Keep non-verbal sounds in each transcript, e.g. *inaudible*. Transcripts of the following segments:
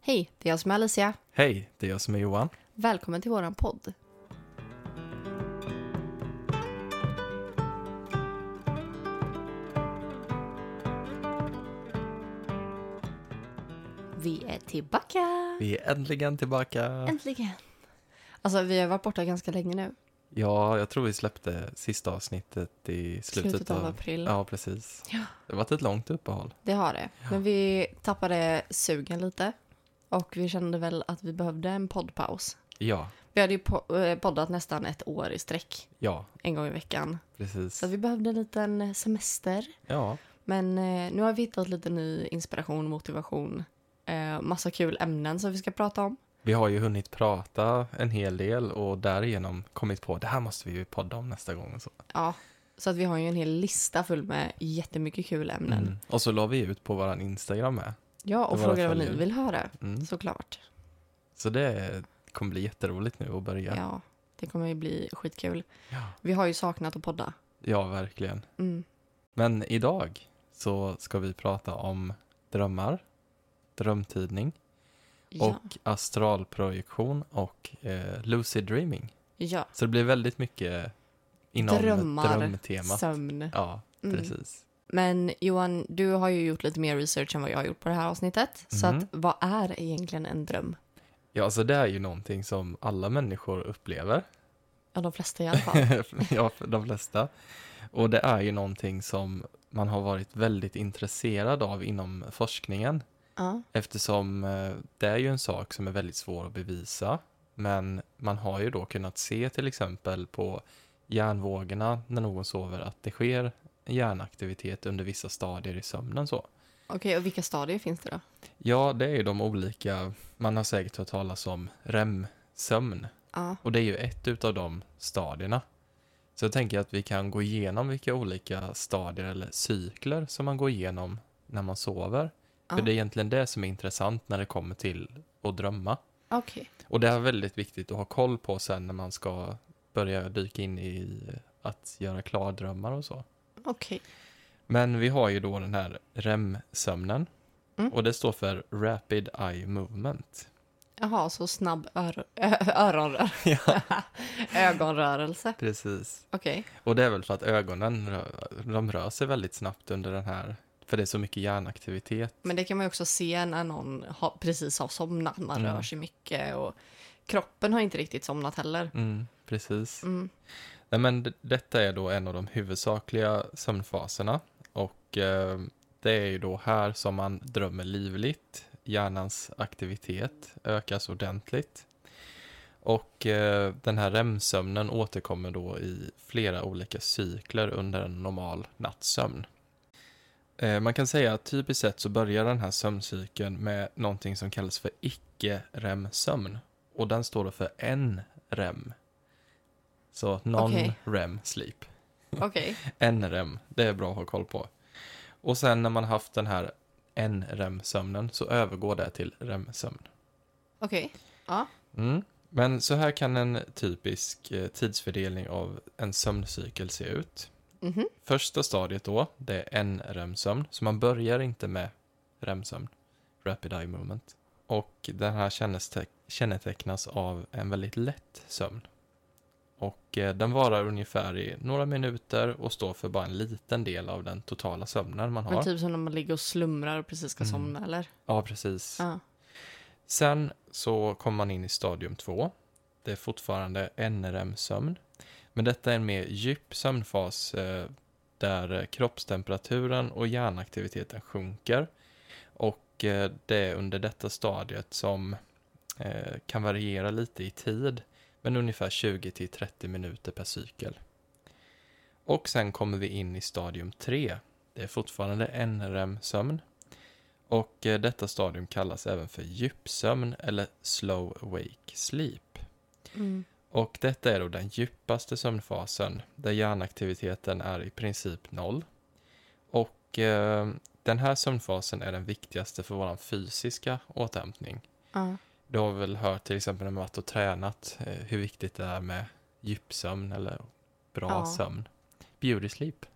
Hej, det är jag som är Alicia. Hej, det är jag som är Johan. Välkommen till våran podd. Vi är tillbaka! Vi är äntligen tillbaka. Äntligen! Alltså, vi har varit borta ganska länge nu. Ja, jag tror vi släppte sista avsnittet i slutet, Slutet av april. Ja, precis. Ja. Det har varit ett långt uppehåll. Det har det. Men vi tappade sugen lite. Och vi kände väl att vi behövde en poddpaus. Ja, Vi hade ju po- eh, poddat nästan ett år i sträck, ja, en gång i veckan. precis. Så vi behövde en liten eh, semester. Ja, Men eh, nu har vi hittat lite ny inspiration, motivation, eh, massa kul ämnen som vi ska prata om. vi har ju hunnit prata en hel del och därigenom kommit på det här måste vi ju podda om nästa gång. Och så. Ja, så att vi har ju en hel lista full med jättemycket kul ämnen. Mm. Och så la vi ut på våran Instagram med. Ja, och Det var i frågar alla vad fall ni kul. vill höra, Mm. såklart. Så det kommer bli jätteroligt nu att börja. Ja. det kommer ju bli skitkul. Ja. Vi har ju saknat att podda. ja, verkligen. Mm. Men idag så ska vi prata om drömmar, drömtidning Ja. och astralprojektion och eh, lucid dreaming. ja, Så det blir väldigt mycket inom Drömmar, drömtemat. sömn. Ja, Mm. precis. Men Johan, du har ju gjort lite mer research än vad jag har gjort på det här avsnittet. Så Mhm. att, vad är egentligen en dröm? Ja, alltså det är ju någonting som alla människor upplever, Ja, de flesta i alla *laughs* fall. ja, för de flesta. Och det är ju någonting som man har varit väldigt intresserad av inom forskningen. ja. Eftersom eh, det är ju en sak som är väldigt svår att bevisa. Men man har ju då kunnat se till exempel på hjärnvågorna när någon sover att det sker hjärnaktivitet under vissa stadier i sömnen så. Okej, och vilka stadier finns det då? Ja, det är ju de olika, man har säkert hört talas om REM-sömn Ja. och det är ju ett utav de stadierna. Så jag tänker att vi kan gå igenom vilka olika stadier eller cykler som man går igenom när man sover. Ja. För det är egentligen det som är intressant när det kommer till att drömma. Okej. Och det är väldigt viktigt att ha koll på sen när man ska börja dyka in i att göra klardrömmar och så. Okej. Men vi har ju då den här REM-sömnen Mm. och det står för Rapid Eye Movement. Jaha, så snabb ör- ö- öronrör. *laughs* Ja. *laughs* ögonrörelse. Precis. Okej. Och det är väl för att ögonen rör, de rör sig väldigt snabbt under den här, för det är så mycket hjärnaktivitet. Men det kan man ju också se när någon har, precis har somnat. Man Mm. rör sig mycket och kroppen har inte riktigt somnat heller. Mm, precis. Mm. Nej, men d- detta är då en av de huvudsakliga sömnfaserna och eh, det är ju då här som man drömmer livligt. Hjärnans aktivitet ökas ordentligt. Och eh, den här REM-sömnen återkommer då i flera olika cykler under en normal nattsömn. Eh, man kan säga att typiskt sett så börjar den här sömncykeln med någonting som kallas för icke-REM-sömn. Och den står då för NREM. Så non-REM sleep. Okej. *laughs* NREM, det är bra att ha koll på. Och sen när man haft den här NREM-sömnen så övergår det till REM-sömn. Okej. Ja. Mm. Men så här kan en typisk eh, tidsfördelning av en sömncykel se ut. Mhm. Första stadiet då, det är en REM-sömn, så man börjar inte med REM-sömn, Rapid Eye Movement. Och den här känneste- kännetecknas av en väldigt lätt sömn. Och eh, den varar ungefär i några minuter och står för bara en liten del av den totala sömnen man har. Men typ som när man ligger och slumrar och precis ska Mm. somna eller? Ja, precis. Ja. Sen så kommer man in i stadium 2. Det är fortfarande NRM-sömn. Men detta är en mer djup sömnfas eh, där eh, kroppstemperaturen och hjärnaktiviteten sjunker. Och eh, det är under detta stadiet som eh, kan variera lite i tid, men ungefär 20 till 30 minuter per cykel. Och sen kommer vi in i stadium 3. Det är fortfarande NRM-sömn. Och eh, detta stadium kallas även för djupsömn eller slow wake sleep. Mm. Och detta är då den djupaste sömnfasen där hjärnaktiviteten är i princip noll. Och eh, den här sömnfasen är den viktigaste för vår fysiska återhämtning. Ja. Du har väl hört till exempel när man varit och tränat eh, hur viktigt det är med djupsömn eller bra Ja. sömn. Beauty sleep.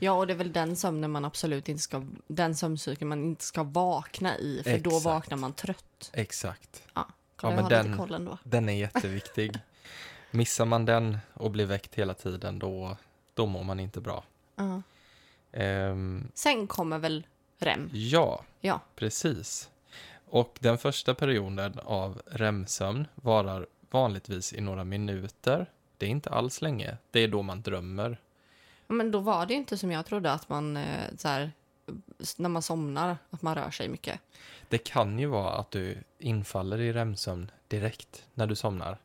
Ja, och det är väl den sömnen man absolut inte ska, den sömncykeln man inte ska vakna i, för då Exakt. vaknar man trött. Exakt. Kolla, Ja, jag men har den- lite koll ändå. Den är jätteviktig. Missar man den och blir väckt hela tiden, då, då mår man inte bra. Ja. Ehm, Sen kommer väl REM. ja, Ja. precis. Och den första perioden av REM-sömn varar vanligtvis i några minuter. Det är inte alls länge. Det är då man drömmer. Men då var det ju inte som jag trodde att man eh, så här, s- när man somnar, att man rör sig mycket. Det kan ju vara att du infaller i REM-sömn direkt när du somnar.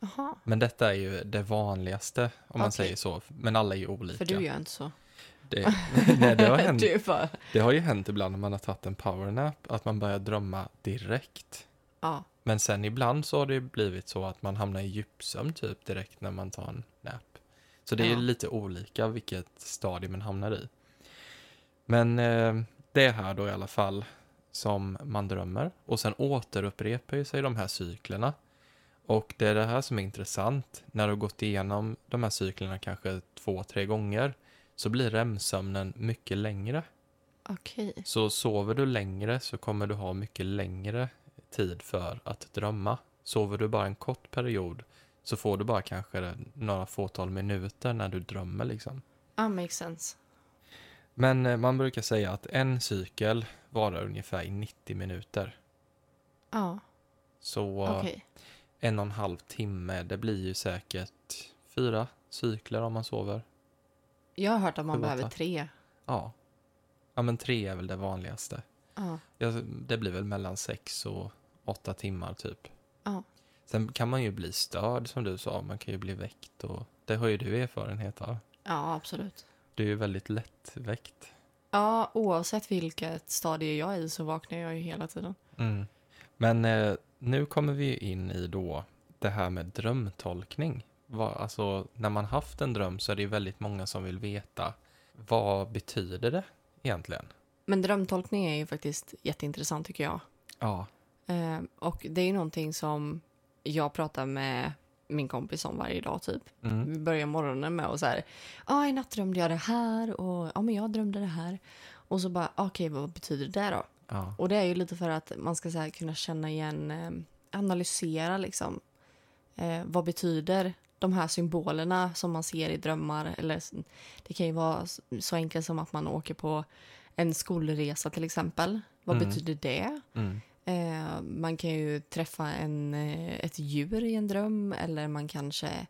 Jaha, Men detta är ju det vanligaste, om man Okej. säger så. Men alla är ju olika. för du gör inte så. Det, *laughs* nej, det, har hänt, Du bara, det har ju hänt ibland när man har tagit en powernap, att man börjar drömma direkt. ja. Men sen ibland så har det ju blivit så att man hamnar i djupsömn typ direkt när man tar en nap. Så det är ju Ja. lite olika vilket stadie man hamnar i. Men eh, det är här då i alla fall som man drömmer. Och sen återupprepar ju sig de här cyklerna. Och det är det här som är intressant. När du har gått igenom de här cyklerna kanske två, tre gånger så blir REM-sömnen mycket längre. Okej. Så sover du längre så kommer du ha mycket längre tid för att drömma. Sover du bara en kort period så får du bara kanske några fåtal minuter när du drömmer liksom. Ah, makes sense. Men eh, man brukar säga att en cykel varar ungefär i 90 minuter. Ja, Så okej. en och en halv timme, det blir ju säkert fyra cykler om man sover. Jag har hört att man Förlåt, behöver va? tre. Ja. Ja men tre är väl det vanligaste. Ja. Ja, det blir väl mellan sex och åtta timmar typ. Ja. Sen kan man ju bli störd som du sa, man kan ju bli väckt och det har ju du erfarenhet av. ja, absolut. Du är ju väldigt lättväckt. Ja, oavsett vilket stadie jag är i så vaknar jag ju hela tiden. Mm. Men eh, nu kommer vi in i då det här med drömtolkning. Vad, alltså när man haft en dröm så är det ju väldigt många som vill veta vad betyder det egentligen? Men drömtolkning är ju faktiskt jätteintressant tycker jag. Ja. Eh, och det är ju någonting som jag pratar med min kompis om varje dag typ. Mm. Vi börjar morgonen med och så här, ja i natt drömde jag det här och ja men jag drömde det här. Och så bara, okej vad betyder det då? ja. Och det är ju lite för att man ska så här kunna känna igen, eh, analysera liksom. Eh, vad betyder de här symbolerna som man ser i drömmar? Eller, s- det kan ju vara s- så enkelt som att man åker på en skolresa till exempel. Vad Mm. betyder det? Mm. Eh, man kan ju träffa en, eh, ett djur i en dröm eller man kanske...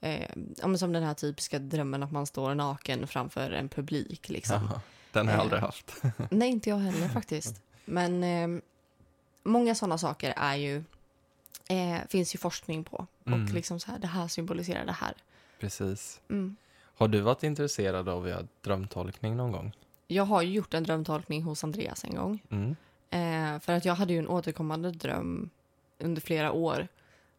Eh, ja, men som den här typiska drömmen att man står naken framför en publik. Liksom. Ja, *laughs* Den har jag Eh. *laughs* aldrig haft. Nej, inte jag heller *laughs* faktiskt. Men eh, många sådana saker är ju, eh, finns ju forskning på. Mm. Och liksom så här, det här symboliserar det här. Precis. Mm. Har du varit intresserad av ja, drömtolkning någon gång? Jag har ju gjort en drömtolkning hos Andreas en gång. Mm. Eh, för att jag hade ju en återkommande dröm under flera år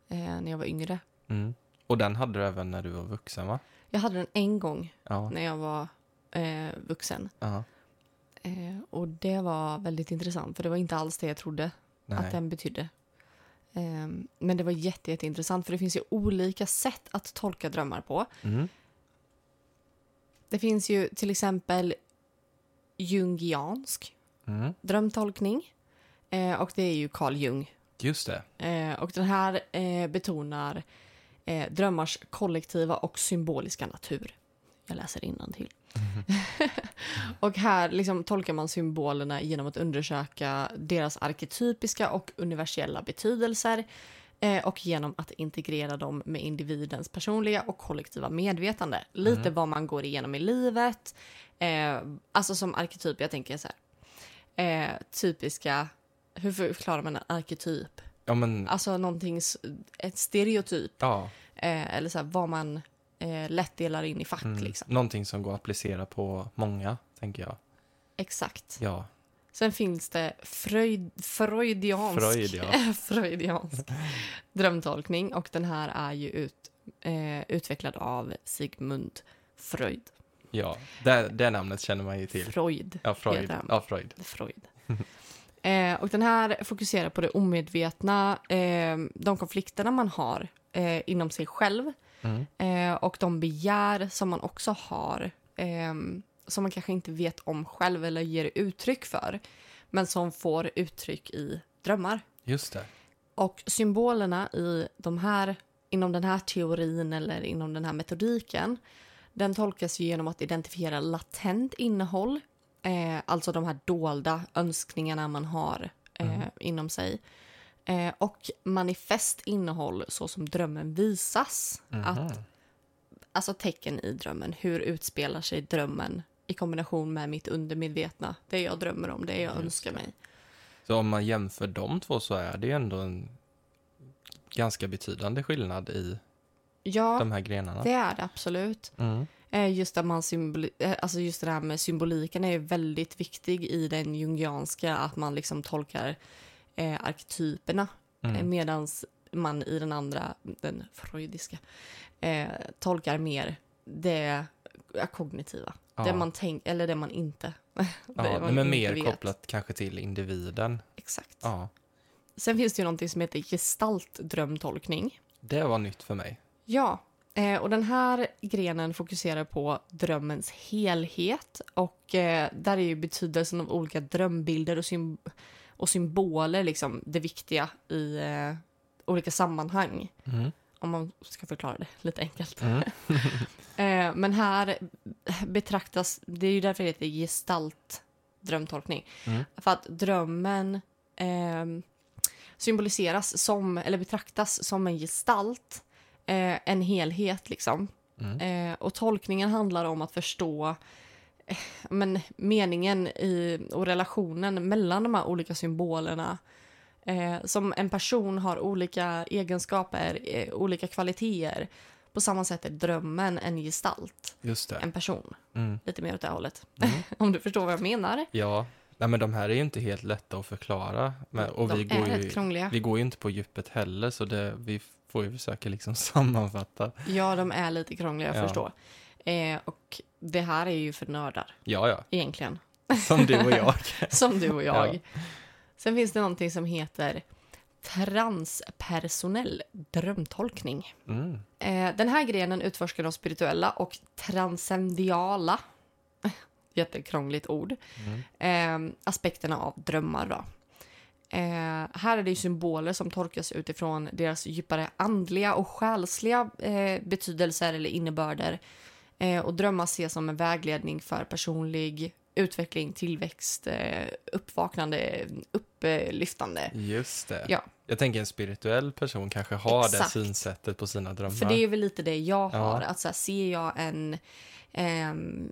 eh, när jag var yngre. Mm. Och den hade du även när du var vuxen, va? Jag hade den en gång Ja. när jag var eh, vuxen. ja. Eh, och det var väldigt intressant för det var inte alls det jag trodde Nej. att den betydde. Eh, men det var jätte, jätteintressant för det finns ju olika sätt att tolka drömmar på. Mm. Det finns ju till exempel jungiansk Mm. drömtolkning eh, och det är ju Carl Jung. Just det. Eh, och den här eh, betonar eh, drömmars kollektiva och symboliska natur. Jag läser innantill. *laughs* och här liksom tolkar man symbolerna genom att undersöka deras arketypiska och universella betydelser eh, och genom att integrera dem med individens personliga och kollektiva medvetande. Lite vad man går igenom i livet, eh, alltså som arketyp, jag tänker så här. Eh, typiska, hur förklarar man en arketyp? Ja, men... Alltså någonting, s- ett stereotyp Ja. eh, eller så här, vad man eh, lätt delar in i fack Mm. liksom. Någonting som går att applicera på många, tänker jag. Exakt. Ja. Sen finns det Freud, freudiansk, Freud, *laughs* ja. freudiansk drömtolkning och den här är ju ut, eh, utvecklad av Sigmund Freud. ja. Det, det namnet känner man ju till. Freud. Ja, Freud. heter han. Ja, Freud. Freud. *laughs* eh, och den här fokuserar på det omedvetna, eh, de konflikterna man har eh, inom sig själv Mm. eh, och de begär som man också har ehm, som man kanske inte vet om själv eller ger uttryck för, men som får uttryck i drömmar. Just det. Och symbolerna i de här, inom den här teorin eller inom den här metodiken den tolkas ju genom att identifiera latent innehåll, eh, alltså de här dolda önskningarna man har eh, inom sig. Eh, och manifest innehåll så som drömmen visas. Att, alltså tecken i drömmen, hur utspelar sig drömmen i kombination med mitt undermedvetna, det jag drömmer om, det jag önskar mig. Så om man jämför de två så är det ju ändå en ganska betydande skillnad i Ja, de här grenarna. det är det absolut. Mm. Eh, Just, att man symboli- eh, alltså just det här med symboliken är ju väldigt viktig i den jungianska, att man liksom tolkar eh, arketyperna. Mm. Medan man i den andra, den freudiska, eh, tolkar mer det kognitiva. Ja. Det man tänker, eller det man inte. *laughs* det Ja, man men inte mer vet. kopplat kanske till individen. Exakt. Ja, Sen finns det ju någonting som heter gestaltdrömtolkning. det var nytt för mig. Ja, eh, och den här grenen fokuserar på drömmens helhet och eh, där är ju betydelsen av olika drömbilder och, sym- och symboler liksom det viktiga i eh, olika sammanhang. Mm. Om man ska förklara det lite enkelt. Mm. *laughs* Eh, Men här betraktas, det är ju därför det heter gestalt drömtolkning. Mm. För att drömmen ehm, symboliseras som, eller betraktas som en gestalt, eh, en helhet liksom. Mm. Eh, och tolkningen handlar om att förstå eh, men, meningen i, och relationen mellan de här olika symbolerna. Eh, som en person har olika egenskaper, eh, olika kvaliteter. På samma sätt är drömmen en gestalt, Just det. en person. Mm. Lite mer åt det här hållet. Mm. *laughs* Om du förstår vad jag menar. Ja, Nej, men de här är ju inte helt lätta att förklara. Men, och de vi, är går rätt ju, krångliga. vi går ju inte på djupet heller, så det, vi får ju försöka liksom *laughs* sammanfatta. Ja, de är lite krångliga att Ja. förstå. Eh, och det här är ju för nördar, *laughs* Ja, ja, egentligen. som du och jag. *laughs* Som du och jag. Ja. Sen finns det någonting som heter transpersonell drömtolkning. Mm. Eh, den här grenen utforskar de spirituella och transcendiala, *laughs* jättekrångligt ord, eh, aspekterna av drömmar. Då. Eh, här är det ju symboler som tolkas utifrån deras djupare andliga och själsliga eh, betydelser eller innebörder. Eh, och drömmar ses som en vägledning för personlig utveckling, tillväxt, eh, uppvaknande, upplyftande. Just det. Ja. Jag tänker en spirituell person kanske har det Exakt. synsättet på sina drömmar. För det är väl lite det jag Ja. har. Att så här, ser jag en... ehm,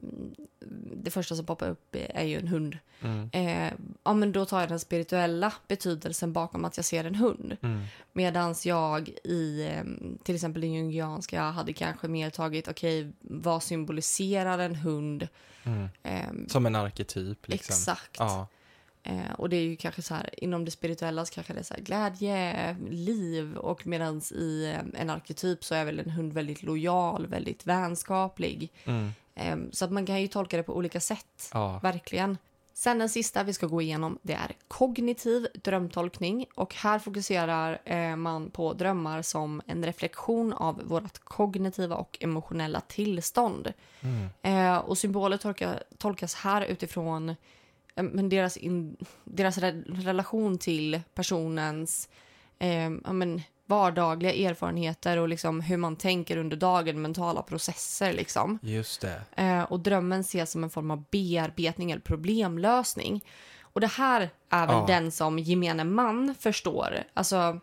det första som poppar upp är ju en hund. Mm. Eh, ja, men då tar jag den spirituella betydelsen bakom att jag ser en hund. Mm. Medan jag i ehm, till exempel den jungianska hade kanske mer tagit, okej, vad symboliserar en hund? Mm. Ehm, Som en arketyp. Liksom. Exakt. Ja. Eh, och det är ju kanske så här, inom det spirituella så kanske det är så här glädje, liv och medan i eh, en arketyp så är väl en hund väldigt lojal, väldigt vänskaplig. Mm. Eh, så att man kan ju tolka det på olika sätt, Ja. verkligen. Sen den sista vi ska gå igenom, det är kognitiv drömtolkning och här fokuserar eh, man på drömmar som en reflektion av vårt kognitiva och emotionella tillstånd. Mm. Eh, och symboler tolka, tolkas här utifrån eh, men deras, in, deras re, relation till personens eh, ja, men vardagliga erfarenheter och liksom hur man tänker under dagen, mentala processer. Liksom. Just det. Eh, och drömmen ses som en form av bearbetning eller problemlösning. Och det här är väl Ja. den som gemene man förstår. Alltså,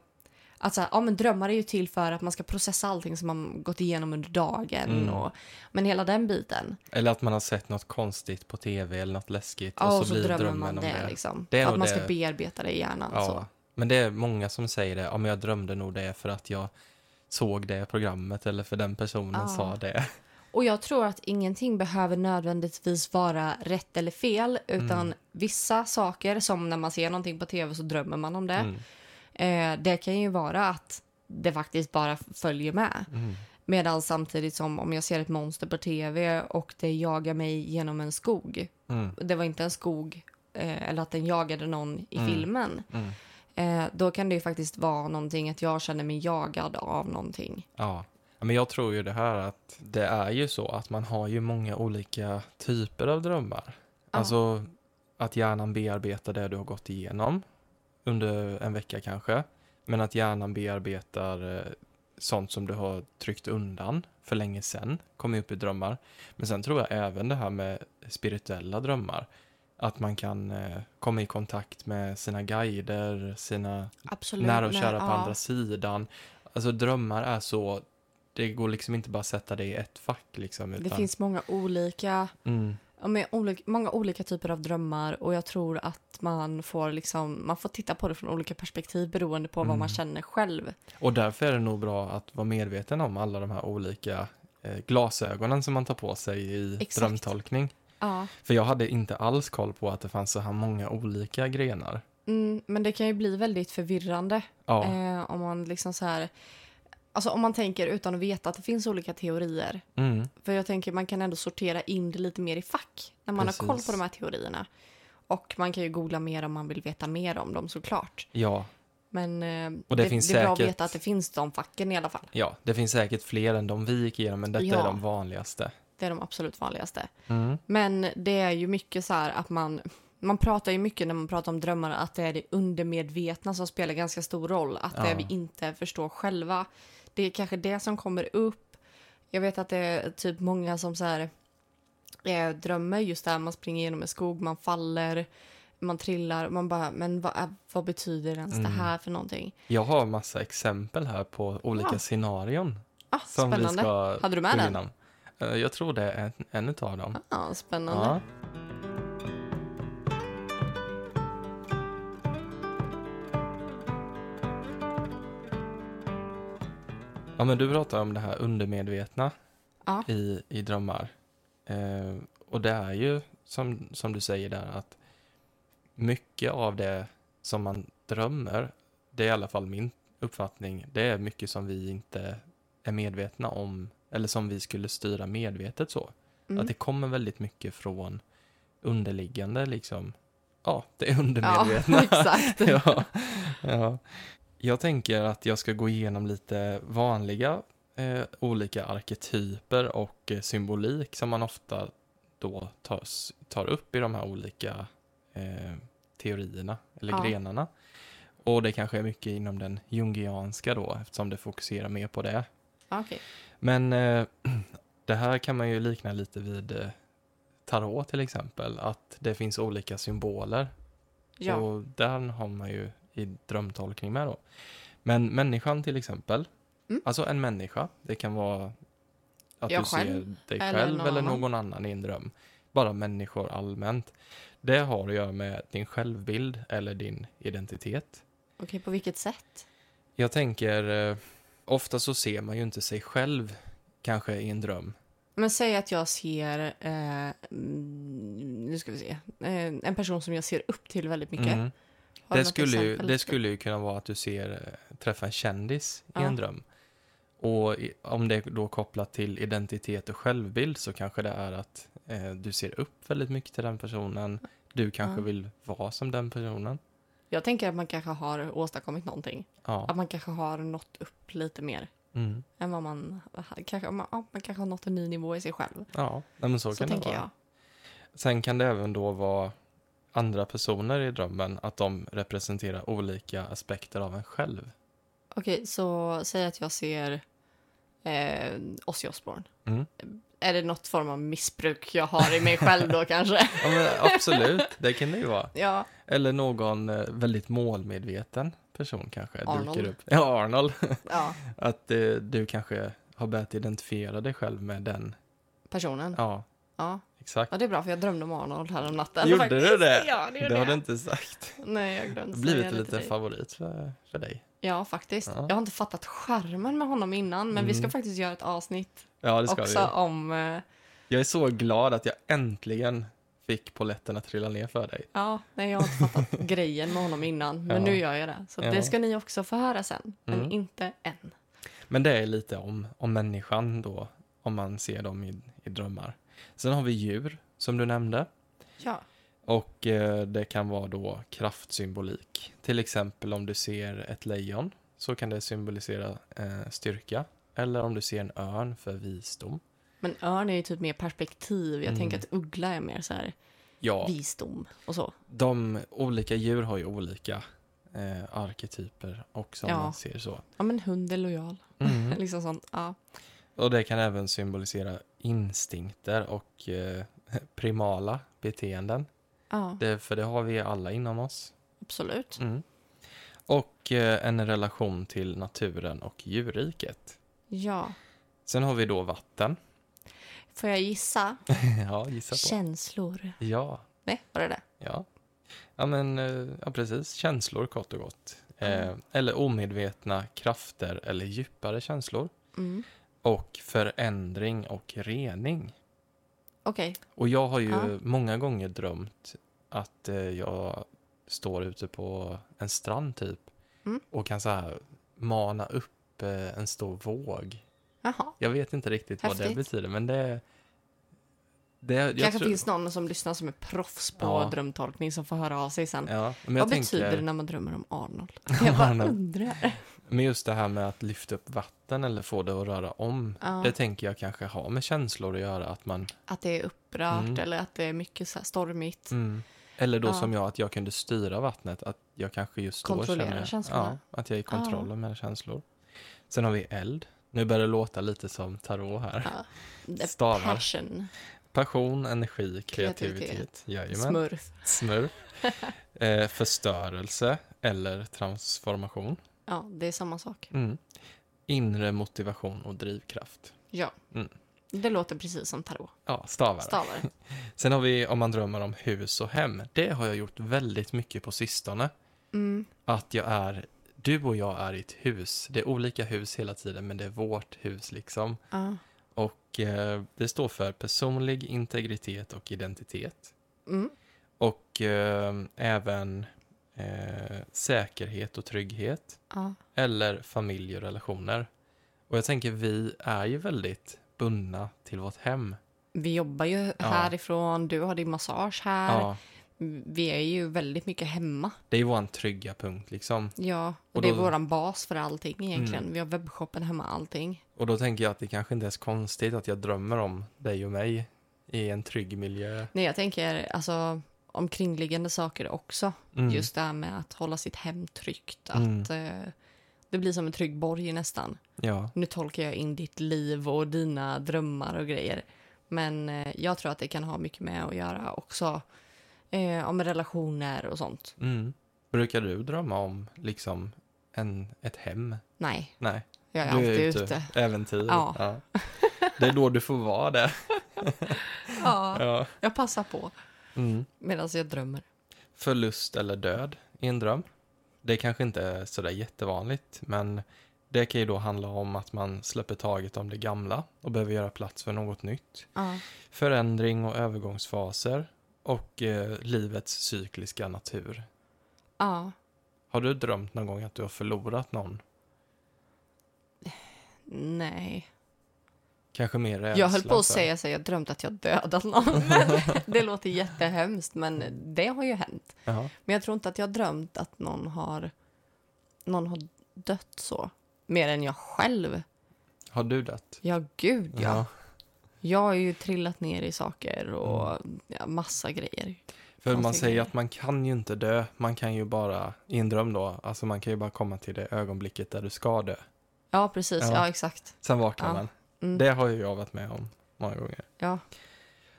att så här, ja, men drömmar är ju till för att man ska processa allting som man gått igenom under dagen. Mm. Och, men hela den biten. Eller att man har sett något konstigt på tv eller något läskigt Ja, och så, blir drömmen om det. Liksom. Det är att nog man ska det. bearbeta det i hjärnan. Ja. Så. Men det är många som säger det. Ja, men jag drömde nog det för att jag såg det programmet eller för den personen Ja. sa det. Och jag tror att ingenting behöver nödvändigtvis vara rätt eller fel utan Mm. vissa saker, som när man ser någonting på tv så drömmer man om det. Mm. Eh, det kan ju vara att det faktiskt bara följer med. Mm. Medan samtidigt som om jag ser ett monster på tv och det jagar mig genom en skog. Mm. Det var inte en skog eh, eller att den jagade någon i Mm. filmen. Mm. Eh, då kan det ju faktiskt vara någonting att jag känner mig jagad av någonting. Ja. Ja, Men jag tror ju det här att det är ju så att man har ju många olika typer av drömmar. Ja. Alltså att hjärnan bearbetar det du har gått igenom under en vecka kanske. Men att hjärnan bearbetar eh, sånt som du har tryckt undan för länge sedan, kommer upp i drömmar. Men sen tror jag även det här med spirituella drömmar. Att man kan eh, komma i kontakt med sina guider, sina Absolut. nära och nej, kära på ja. andra sidan. Alltså drömmar är så, det går liksom inte bara att sätta det i ett fack liksom. Utan, Det finns många olika, Mm, ja, men olika, många olika typer av drömmar och jag tror att man får, liksom, man får titta på det från olika perspektiv beroende på vad Mm. man känner själv. och därför är det nog bra att vara medveten om alla de här olika eh, glasögonen som man tar på sig i Exakt. drömtolkning. Ja. För jag hade inte alls koll på att det fanns så här många olika grenar. Mm, men det kan ju bli väldigt förvirrande Ja, eh, om man liksom så här, alltså om man tänker utan att veta att det finns olika teorier. mm, För jag tänker man kan ändå sortera in det lite mer i fack när man har koll Precis. på de här teorierna. Och man kan ju googla mer om man vill veta mer om dem såklart. ja, Men eh, Och det det, finns det är bra att säkert- veta att det finns de facken i alla fall. ja, det finns säkert fler än de vi gick igenom, men detta Ja. är de vanligaste. Det är de absolut vanligaste. Mm, Men det är ju mycket så här att man... Man pratar ju mycket när man pratar om drömmar att det är det undermedvetna som spelar ganska stor roll. Att det Ja. vi inte förstår själva. Det är kanske det som kommer upp. Jag vet att det är typ många som så här eh, drömmer just där man springer genom en skog, man faller, man trillar och man bara men vad, är- vad betyder ens Mm. det här för någonting? jag har massa exempel här på olika Ja. scenarion. Ah, Som spännande. vi ska Hade du med gå den? igenom. Eh, Jag tror det är en, en utav dem. Ja, spännande. Ja. ja, men du pratar om det här undermedvetna Ja. i, i drömmar. Eh, och det är ju som, som du säger där att mycket av det som man drömmer, det är i alla fall min uppfattning, det är mycket som vi inte är medvetna om eller som vi skulle styra medvetet så. Mm. Att det kommer väldigt mycket från underliggande liksom. Ja, det är undermedvetna. Ja, *laughs* exakt. *laughs* ja, ja. Jag tänker att jag ska gå igenom lite vanliga eh, olika arketyper och eh, symbolik som man ofta då tar, tar upp i de här olika eh, teorierna eller Ja. grenarna. Och det kanske är mycket inom den jungianska då eftersom det fokuserar mer på det. Ja, okej. Men eh, *clears throat* det här kan man ju likna lite vid eh, tarot till exempel, att det finns olika symboler. Ja. Och där har man ju i drömtolkning med då. Men människan till exempel, Mm. alltså en människa, det kan vara att Jag du själv, ser dig eller själv eller någon, någon annan. annan i en dröm. Bara människor allmänt. Det har att göra med din självbild eller din identitet. Okej, på vilket sätt? Jag tänker, eh, ofta så ser man ju inte sig själv kanske i en dröm. Men säg att jag ser, eh, mm, nu ska vi se, eh, en person som jag ser upp till väldigt mycket. Mm. Har du Det, något skulle ju, exempel? det skulle ju kunna vara att du ser, eh, träffa en kändis i Ja. en dröm. Och i, om det är då kopplat till identitet och självbild så kanske det är att eh, du ser upp väldigt mycket till den personen. Du kanske Ja. vill vara som den personen. Jag tänker att man kanske har åstadkommit någonting. Ja. Att man kanske har nått upp lite mer Mm. än vad man... Kanske, man, ja, man kanske har nått en ny nivå i sig själv. Ja, Nej, men så, Så, kan det tänker vara. jag. Sen kan det även då vara andra personer i drömmen, att de representerar olika aspekter av en själv. Okej, så säg att jag ser eh, Ozzy Osbourne. Mm. Är det något form av missbruk jag har i mig själv då *laughs* kanske? Ja, men absolut, det kan det ju vara. Ja, Eller någon eh, väldigt målmedveten person kanske Arnold. dyker upp. Ja, Arnold. ja. Att eh, du kanske har börjat identifiera dig själv med den. personen. Ja, Ja. exakt. ja, det är bra för jag drömde om Arnold här om natten. Gjorde faktiskt. du det? Ja, det gjorde Det har jag. du inte sagt. Nej, jag Det glömde säga har blivit det en till liten dig. favorit för, för dig. Ja, faktiskt. Ja. Jag har inte fattat skärmen med honom innan, men vi ska Mm. faktiskt göra ett avsnitt Ja, det ska också om... eh, vi. Jag är så glad att jag äntligen fick polletten att trilla ner för dig. Ja, nej, jag har inte fattat *laughs* grejen med honom innan, men Ja. nu gör jag det. Så Ja. det ska ni också få höra sen, men Mm. inte än. Men det är lite om, om människan då, om man ser dem i, i drömmar. Sen har vi djur, som du nämnde. Ja, Och eh, det kan vara då kraftsymbolik. Till exempel om du ser ett lejon så kan det symbolisera eh, styrka eller om du ser en örn för visdom. Men örn är ju typ mer perspektiv. Jag Mm. tänker att uggla är mer så här Ja, visdom och så. de olika djur har ju olika eh, arketyper också om Ja. man ser så. Ja, men hund är lojal. *laughs* Mm. liksom sånt. Ja. Och det kan även symbolisera instinkter och eh, *laughs* primala beteenden. ja, Det, för det har vi alla inom oss. absolut. Mm. Och eh, en relation till naturen och djurriket. Ja. Sen har vi då vatten. Får jag gissa? ja, gissa på. Känslor. Ja, Nej, var det det? ja. Ja, men eh, ja, precis. Känslor kort och gott. Eh, Mm. eller omedvetna krafter eller djupare känslor. Mm. Och förändring och rening. Okej. Och jag har ju Ja. många gånger drömt att eh, jag står ute på en strand typ Mm. och kan så här mana upp eh, en stor våg. Jaha. Jag vet inte riktigt vad det Häftigt. betyder, men det... det jag kanske tror- finns någon som lyssnar som är proffs på Ja. drömtolkning som får höra av sig sen. Ja, men jag Vad tänker, betyder det när man drömmer om *laughs* Arnold? Jag bara Arnold. undrar. Men just det här med att lyfta upp vatten eller få det att röra om. Ja. Det tänker jag kanske har med känslor att göra. Att man, Att det är upprört Mm. eller att det är mycket så här stormigt. Eller då Ja. som jag, att jag kunde styra vattnet. Att jag kanske just då Kontrollera känner känslorna. Ja, att jag är i kontroll med mina känslor. Sen har vi eld. Nu börjar det låta lite som tarot här. Ja. The Stavar. Passion. Passion, energi, kreativitet. Kreativitet. Jajamän. Smurf. Smurf. *laughs* eh, förstörelse eller transformation. Ja, det är samma sak. Mm. Inre motivation och drivkraft. Ja. Mm. Det låter precis som tarot. Ja, stavar. *laughs* Stavar. Sen har vi om man drömmer om hus och hem. Det har jag gjort väldigt mycket på sistone. Mm. Att jag är, du och jag är i ett hus. Det är olika hus hela tiden, men det är vårt hus liksom. Ja. Och eh, det står för personlig integritet och identitet. Mm. Och eh, även eh, säkerhet och trygghet. Ja. Eller familj och relationer. Och jag tänker vi är ju väldigt bundna till vårt hem. Vi jobbar ju härifrån, du har din massage här. Ja, Vi är ju väldigt mycket hemma. det är vår trygga punkt liksom. Ja, och, Och det är då- Mm. vår bas för allting egentligen. Vi har webbshoppen hemma, allting. Och då tänker jag att det kanske inte är så konstigt att jag drömmer om dig och mig i en trygg miljö. Nej, jag tänker alltså omkringliggande saker också. Mm. Just det här med att hålla sitt hem tryggt. Mm. Att eh, det blir som en trygg borg nästan. Ja, Nu tolkar jag in ditt liv och dina drömmar och grejer. Men eh, jag tror att det kan ha mycket med att göra också. Eh, om relationer och sånt. mm. Brukar du drömma om liksom en, ett hem? Nej, Nej, jag är du alltid ute. ute. Äventyr. Ja. *laughs* Det är då du får vara där. Ja, Ja. jag passar på Mm. medan jag drömmer. Förlust eller död i en dröm. Det kanske inte är sådär jättevanligt, men det kan ju då handla om att man släpper taget om det gamla och behöver göra plats för något nytt. Ja. förändring och övergångsfaser och eh, livets cykliska natur. ja. Har du drömt någon gång att du har förlorat någon? Nej. Kanske mer rädsla Jag höll på att för- säga så här, jag drömde att jag dödat *laughs* någon. *laughs* Men det låter jättehemskt, men det har ju hänt. Jaha. Men jag tror inte att jag drömt att någon har, någon har dött så. Mer än jag själv. Har du dött? Ja, gud ja. Jag har ju trillat ner i saker och Mm. ja, massa grejer. För man Konstiga säger grejer. att man kan ju inte dö. Man kan ju bara, i en dröm då, alltså man kan ju bara komma till det ögonblicket där du ska dö. Ja, precis. Ja. Ja, exakt. Sen vaknar Ja. man. Mm. Det har ju jag varit med om många gånger. Ja.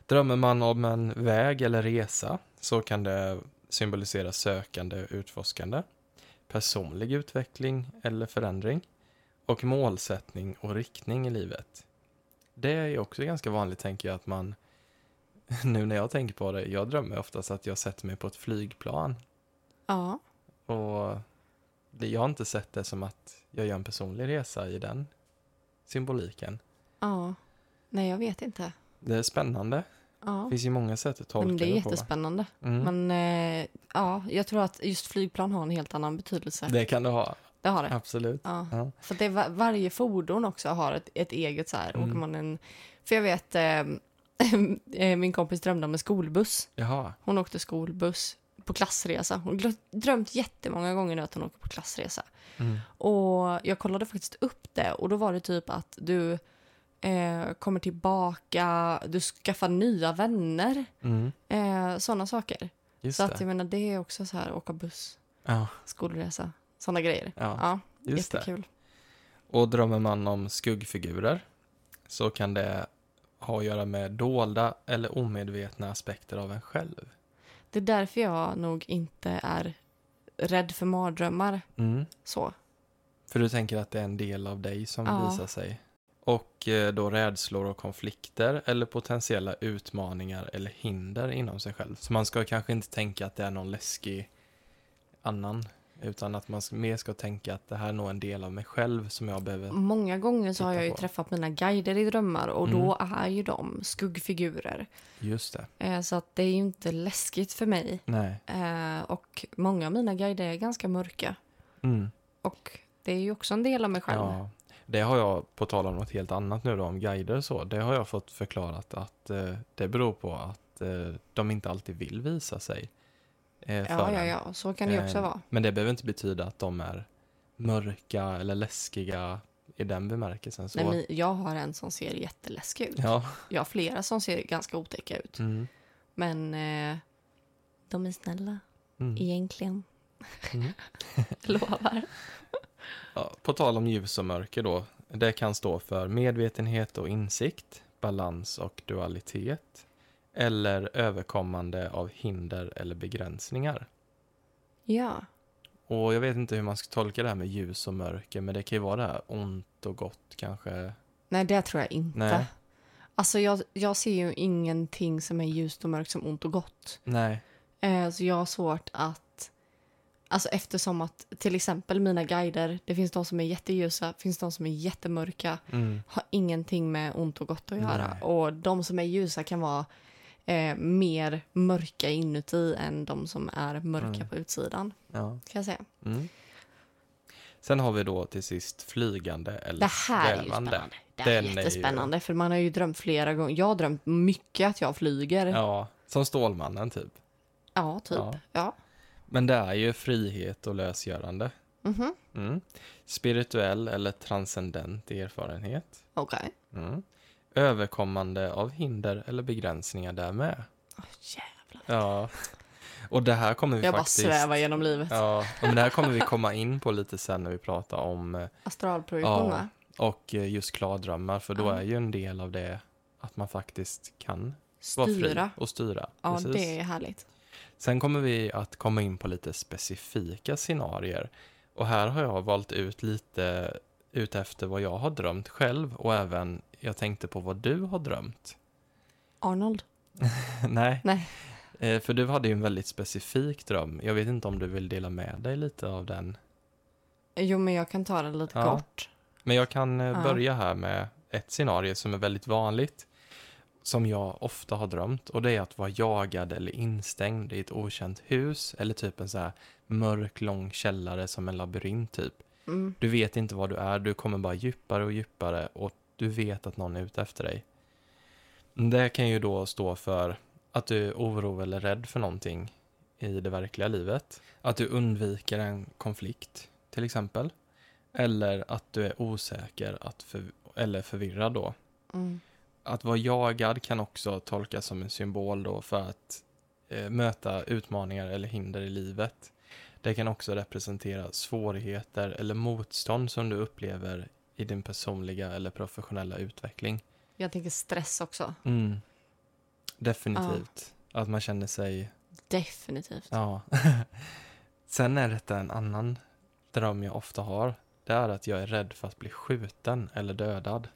Drömmer man om en väg eller resa så kan det symbolisera sökande och utforskande, personlig utveckling eller förändring och målsättning och riktning i livet. Det är ju också ganska vanligt tänker jag att man, *laughs* nu när jag tänker på det, jag drömmer oftast att jag sätter mig på ett flygplan Ja. och det- jag har inte sett det som att jag gör en personlig resa i den symboliken. ja. Nej, jag vet inte. Det är spännande. Det Ja. finns ju många sätt att tolka Men det är på. jättespännande. Mm. Men eh, ja, jag tror att just flygplan har en helt annan betydelse. Det, Det kan du ha, har det. absolut. Ja. Ja. För det är va- varje fordon också har ett, ett eget så Mm. här. Åker man en, för jag *laughs* vet, eh, eh, min kompis drömde om en skolbuss. Jaha. Hon åkte skolbuss på klassresa. Hon har drömt jättemånga gånger nu att hon åker på klassresa. Mm. Och jag kollade faktiskt upp det och då var det typ att du eh, kommer tillbaka, du skaffar nya vänner, Mm. eh, sådana saker. Just så att det. jag menar det är också så här åka buss, Ja, skolresa, sådana grejer. ja, Ja, just det. jättekul. Och drömmer man om skuggfigurer så kan det ha att göra med dolda eller omedvetna aspekter av en själv. Det. är därför jag nog inte är rädd för mardrömmar Mm. så. För du tänker att det är en del av dig som Ja. visar sig. Och eh, då rädslor och konflikter eller potentiella utmaningar eller hinder inom sig själv. Så man ska kanske inte tänka att det är någon läskig annan. Utan att man s- mer ska tänka att det här är nog en del av mig själv som jag behöver. Många gånger så har Titta jag ju på. Mm. träffat mina guider i drömmar och då är ju de skuggfigurer. Just det. Eh, så att det är ju inte läskigt för mig. Nej. Eh, och många av mina guider är ganska mörka. Mm. Och det är ju också en del av mig själv. Ja, det har jag, på tal om något helt annat nu då, om guider och så, det har jag fått förklarat att eh, det beror på att eh, de inte alltid vill visa sig. Eh, för ja, ja, en. ja. Så kan det ju också Eh, vara. Men det behöver inte betyda att de är mörka eller läskiga i den bemärkelsen. Så. Nej, men jag har en som ser jätteläskig ut. Ja, Jag har flera som ser ganska otäcka ut. mm, Men eh, de är snälla, mm. egentligen. Mm. *laughs* Lovar. Ja, på tal om ljus och mörker då, det kan stå för medvetenhet och insikt, balans och dualitet eller överkommande av hinder eller begränsningar. Ja. Och jag vet inte hur man ska tolka det här med ljus och mörker, men det kan ju vara det här ont och gott kanske. Nej, det tror jag inte. Nej. Alltså, jag, jag ser ju ingenting som är ljust och mörkt som ont och gott. Nej. Eh, så jag har svårt att... Alltså eftersom att till exempel mina guider, det finns de som är jätteljusa, finns de som är jättemörka, Mm. har ingenting med ont och gott att göra. Nej. Och de som är ljusa kan vara eh, mer mörka inuti än de som är mörka Mm. på utsidan, Ja. kan jag säga. Mm. Sen har vi då till sist flygande eller Det här är ju svävande. spännande. Det här är Den är ju- jättespännande, för man har ju drömt flera gånger. Jag har drömt mycket att jag flyger. Ja, Ja, som Stålmannen typ. typ. Ja. Ja. Men det är ju frihet och lösgörande. Mhm. Mm. Spirituell eller transcendent erfarenhet. Okej. Mm. Överkommande av hinder eller begränsningar där med. Åh, jävlar. Ja. Och det här kommer vi Jag bara faktiskt... svävar genom livet. Ja, men det här kommer vi komma in på lite sen när vi pratar om eh, Astralprojektion, Ja. va? och eh, just klardrömmar, för då Ja. är ju en del av det att man faktiskt kan vara fri Styra. och styra. Ja, Precis. det är härligt. Sen kommer vi att komma in på lite specifika scenarier och här har jag valt ut lite ut efter vad jag har drömt själv och även jag tänkte på vad du har drömt. *laughs* Arnold? Nej. Nej. Eh, För du hade ju en väldigt specifik dröm. Jag vet inte om du vill dela med dig lite av den. Jo, men jag kan ta den lite Ja. kort. Men jag kan eh, Ja. börja här med ett scenario som är väldigt vanligt, som jag ofta har drömt, och det är att vara jagad eller instängd i ett okänt hus, eller typ en så här mörk, lång källare som en labyrint typ. Mm. Du vet inte var du är, du kommer bara djupare och djupare och du vet att någon är ute efter dig. Det kan ju då stå för att du är oro eller rädd för någonting i det verkliga livet. Att du undviker en konflikt, till exempel. Eller att du är osäker att för, eller förvirrad då. Mm. Att vara jagad kan också tolkas som en symbol då för att eh, möta utmaningar eller hinder i livet. Det kan också representera svårigheter eller motstånd som du upplever i din personliga eller professionella utveckling. Jag tänker stress också. Mm. Definitivt. Att man känner sig... Definitivt. Ja. *laughs* Sen är detta en annan dröm jag ofta har. Det är att jag är rädd för att bli skjuten eller dödad.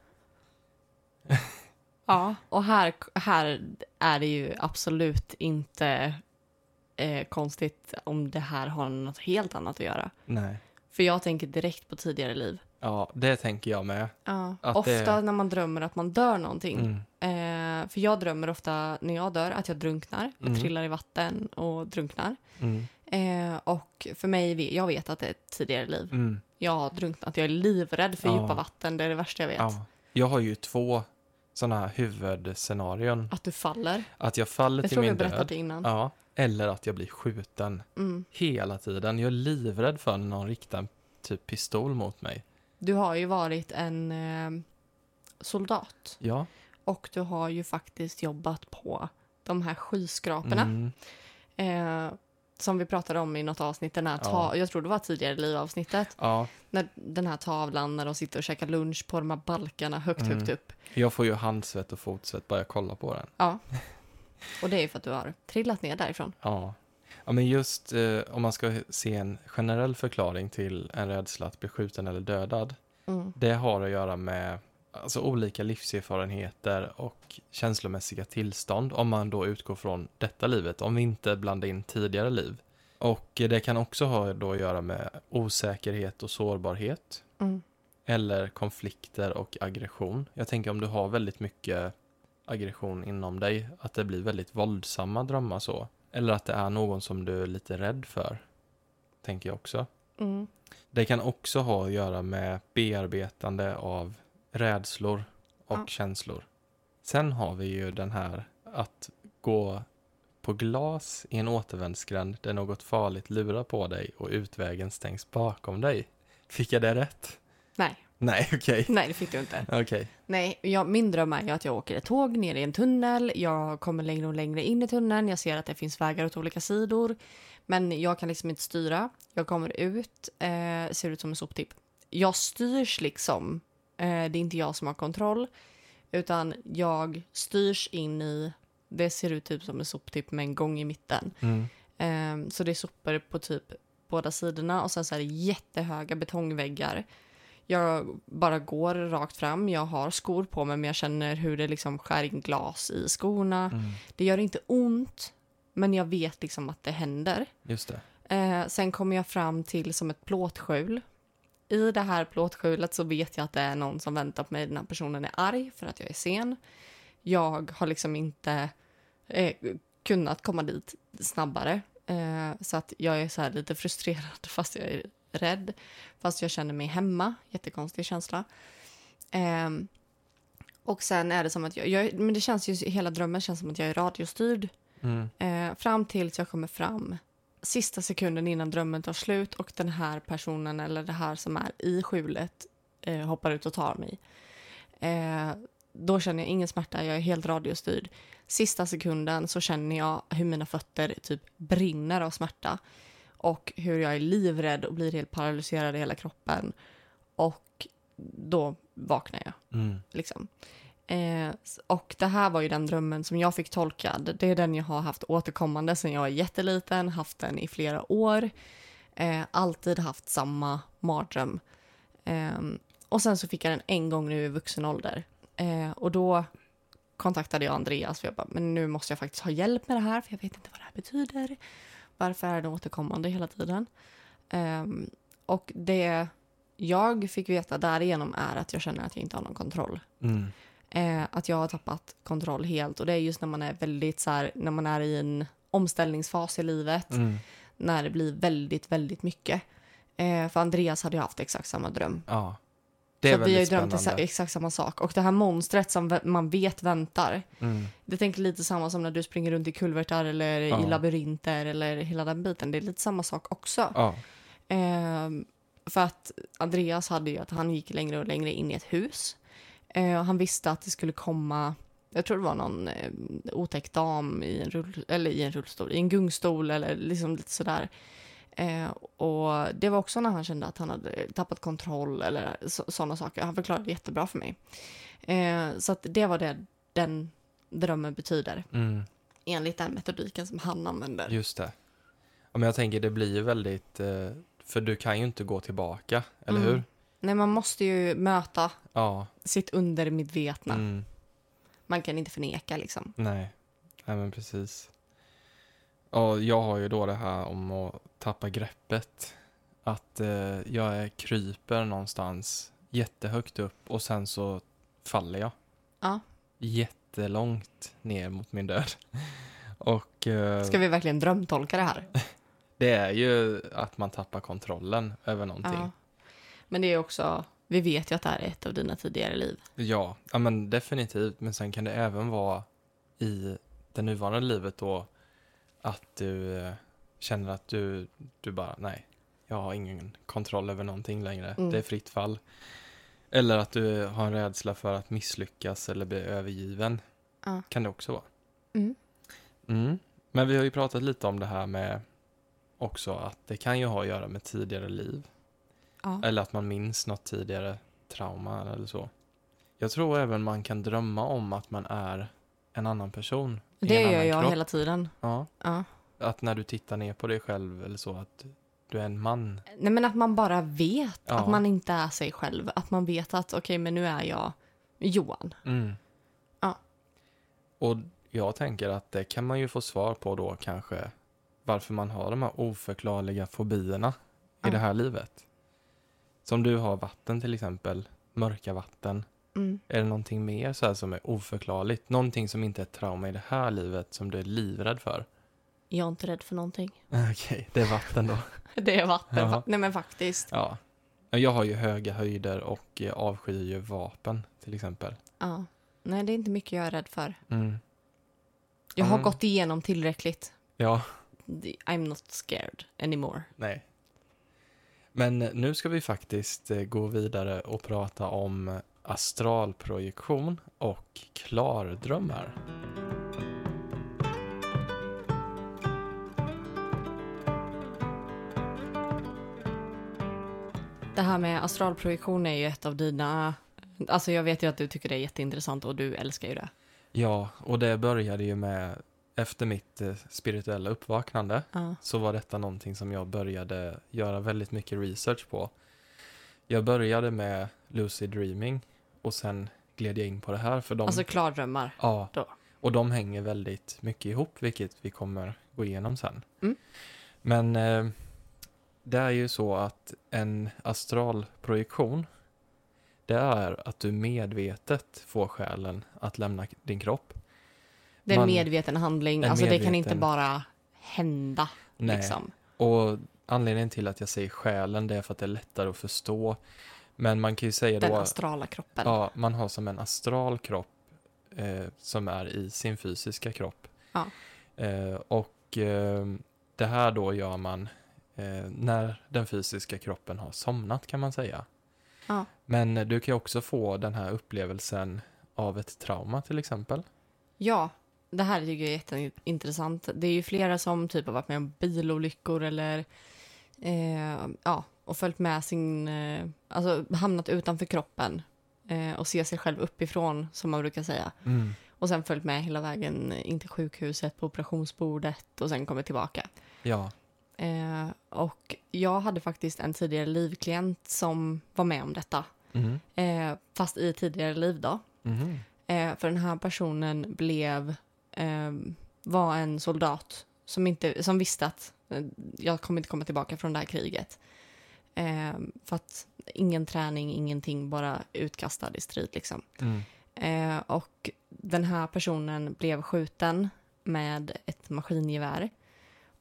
Ja, och här, här är det ju absolut inte eh, konstigt om det här har något helt annat att göra. Nej. För jag tänker direkt på tidigare liv. Ja, det tänker jag med. Ja. Att det- Ofta när man drömmer att man dör någonting. Mm. Eh, för jag drömmer ofta när jag dör att jag drunknar. Jag Mm. trillar i vatten och drunknar. Mm. Eh, och för mig, jag vet att det är ett tidigare liv. Mm. Jag har drunknat. Jag är livrädd för Ja. djupa vatten. Det är det värsta jag vet. Ja. Jag har ju två sådana här huvudscenarion. Att du faller. Att jag faller Jag till tror vi har min berättat död. det innan. Ja. Eller att jag blir skjuten Mm. hela tiden. Jag är livrädd för när någon riktar en typ pistol mot mig. Du har ju varit en eh, soldat Ja. och du har ju faktiskt jobbat på de här skyskraporna Mm. eh, som vi pratade om i något avsnitt. Den här ta- Ja. Jag tror det var tidigare livavsnittet. ja. När den här tavlan när de sitter och käkar lunch på de här balkarna högt, Mm. högt upp. Jag får ju handsvett och fotsvett bara jag kollar på den. Ja. Och det är ju för att du har trillat ner därifrån. Ja. Ja, men just eh, om man ska se en generell förklaring till en rädsla att bli skjuten eller dödad. Mm. Det har att göra med alltså, olika livserfarenheter och känslomässiga tillstånd om man då utgår från detta livet, om vi inte blandar in tidigare liv. Och eh, det kan också ha då att göra med osäkerhet och sårbarhet Mm. eller konflikter och aggression. Jag tänker om du har väldigt mycket aggression inom dig, att det blir väldigt våldsamma drömmar så. Eller att det är någon som du är lite rädd för, tänker jag också. Mm. Det kan också ha att göra med bearbetande av rädslor och Ja. känslor. Sen har vi ju den här att gå på glas i en återvändsgränd där något farligt lurar på dig och utvägen stängs bakom dig. Fick jag det rätt? Nej, Nej, *laughs* okej. nej det fick du inte. Okej. Nej, jag, min dröm är ju att jag åker ett tåg ner i en tunnel. Jag kommer längre och längre in i tunneln. Jag ser att det finns vägar åt olika sidor. Men jag kan liksom inte styra. Jag kommer ut, eh, ser ut som en soptipp. Jag styrs liksom. Eh, det är inte jag som har kontroll. Utan jag styrs in i... Det ser ut typ som en soptipp med en gång i mitten. Mm. Ehm, så det är sopor på typ båda sidorna och sen så är det jättehöga betongväggar. Jag bara går rakt fram. Jag har skor på mig, men jag känner hur det liksom skär in glas i skorna. Mm. Det gör inte ont, men jag vet liksom att det händer. Just det. Eh, sen kommer jag fram till som ett plåtskjul. I det här plåtskjulet så vet jag att det är någon som väntar på mig. Den här personen är arg för att jag är sen. Jag har liksom inte eh, kunnat komma dit snabbare. Eh, så att jag är så här lite frustrerad *laughs* fast jag är rädd. Fast jag känner mig hemma. Jättekonstig känsla. Ehm, och sen är det som att jag, jag... Men det känns ju... Hela drömmen känns som att jag är radiostyrd. Mm. Eh, fram tills jag kommer fram sista sekunden innan drömmen tar slut och den här personen eller det här som är i skjulet eh, hoppar ut och tar mig. Eh, då känner jag ingen smärta, jag är helt radiostyrd. Sista sekunden så känner jag hur mina fötter typ brinner av smärta och hur jag är livrädd och blir helt paralyserad i hela kroppen. Och då vaknar jag Mm. liksom. Eh, s- och det här var ju den drömmen som jag fick tolkad. Det är den jag har haft återkommande sedan jag var jätteliten, haft den i flera år. Eh, alltid haft samma mardröm. Eh, och sen så fick jag den en gång nu i vuxen ålder. Eh, och då kontaktade jag Andreas för jag bara, men nu måste jag faktiskt ha hjälp med det här för jag vet inte vad det här betyder. Varför är det återkommande hela tiden? Eh, och det jag fick veta därigenom är att jag känner att jag inte har någon kontroll Mm. eh, att jag har tappat kontroll helt. Och det är just när man är väldigt så här, när man är i en omställningsfas i livet, Mm. när det blir väldigt, väldigt mycket. Eh, för Andreas hade ju haft exakt samma dröm. Ja. Det är så vi har ju väldigt drömt spännande. exa- exakt samma sak. Och det här monstret som vä- man vet väntar, Mm. det tänker lite samma som när du springer runt i kulvertar eller i Ja. labyrinter eller hela den biten. Det är lite samma sak också. Ja. Ehm, för att Andreas hade ju att han gick längre och längre in i ett hus. Eh, och han visste att det skulle komma, jag tror det var någon eh, otäck dam i en, rull, eller i en rullstol, i en gungstol eller liksom lite sådär. Eh, och det var också när han kände att han hade tappat kontroll eller sådana saker. Han förklarade jättebra för mig. Eh, så att det var det den drömmen betyder Mm. enligt den metodiken som han använder. Just det. Ja, men jag tänker det blir ju väldigt, eh, för du kan ju inte gå tillbaka, eller Mm. hur? Nej, man måste ju möta Ja. sitt undermedvetna. Mm. man kan inte förneka liksom. Nej. Nej, men precis. Ja, jag har ju då det här om att tappa greppet. Att eh, jag är kryper någonstans jättehögt upp och sen så faller jag. Ja. Jättelångt ner mot min död. *laughs* Och eh, Ska vi verkligen drömtolka det här? det är ju att man tappar kontrollen över någonting. Ja. Men det är också, vi vet ju att det här är ett av dina tidigare liv. Ja, ja men definitivt. Men sen kan det även vara i det nuvarande livet då Att du eh, känner att du, du bara, nej, jag har ingen kontroll över någonting längre. Mm. Det är fritt fall. Eller att du har en rädsla för att misslyckas eller bli övergiven. Ja. Kan det också vara. Mm. Mm. Men vi har ju pratat lite om det här med också att det kan ju ha att göra med tidigare liv. Ja. Eller att man minns något tidigare trauma eller så. Jag tror även man kan drömma om att man är en annan person. i Det en gör annan jag kropp. hela tiden. Ja, Ja. att när du tittar ner på dig själv eller så, att du är en man. Nej, men att man bara vet Ja. att man inte är sig själv. Att man vet att okej, men nu är jag Johan. Mm. Ja. Och jag tänker att det kan man ju få svar på då kanske varför man har de här oförklarliga fobierna Ja. i det här livet. Som du har vatten till exempel, mörka vatten. Mm. Är det någonting mer så här som är oförklarligt? Någonting som inte är ett trauma i det här livet som du är livrädd för? Jag är inte rädd för någonting. *laughs* *laughs* Okej, det är vatten då. Det är vatten. Ja. fa- Nej, men faktiskt. *laughs* ja. Ja, Jag har ju höga höjder och eh, avskyr ju vapen till exempel. Ja. Nej, det är inte mycket jag är rädd för. Mm. Jag har Mm. gått igenom tillräckligt. Ja, I'm not scared anymore. nej. Men nu ska vi faktiskt eh, gå vidare och prata om astralprojektion och klardrömmar. Det här med astralprojektion är ju ett av dina... Alltså jag vet ju att du tycker det är jätteintressant och du älskar ju det. Ja, och det började ju med efter mitt eh, spirituella uppvaknande. Ja. så var detta någonting som jag började göra väldigt mycket research på. Jag började med Lucid Dreaming och sen gled jag in på det här för de, Alltså klardrömmar. ja, då. och de hänger väldigt mycket ihop vilket vi kommer gå igenom sen. Mm. Men eh, det är ju så att en astralprojektion det är att du medvetet får själen att lämna din kropp. Det är en Man- medveten handling. En alltså det kan medveten- inte bara hända. Liksom. Och anledningen till att jag säger själen, det är för att det är lättare att förstå. Men man kan ju säga Den då... astrala kroppen. Ja, man har som en astral kropp eh, som är i sin fysiska kropp. Ja. Eh, och eh, det här då gör man eh, när den fysiska kroppen har somnat kan man säga. Ja. Men eh, du kan ju också få den här upplevelsen av ett trauma till exempel. Ja, det här tycker jag är jätteintressant. Det är ju flera som typ har varit med om bilolyckor eller eh, ja, och följt med sin, eh, alltså hamnat utanför kroppen eh, och ser sig själv uppifrån som man brukar säga. Mm. Och sen följt med hela vägen in till sjukhuset på operationsbordet och sen kommit tillbaka. Ja. Eh, och jag hade faktiskt en tidigare livklient som var med om detta, Mm. eh, fast i tidigare liv då. Mhm. Eh, för den här personen blev, eh, var en soldat som, inte, som visste att eh, jag kommer inte komma tillbaka från det här kriget. Eh, för att ingen träning, ingenting, bara utkastad i strid liksom. Mm. Eh, och den här personen blev skjuten med ett maskingevär.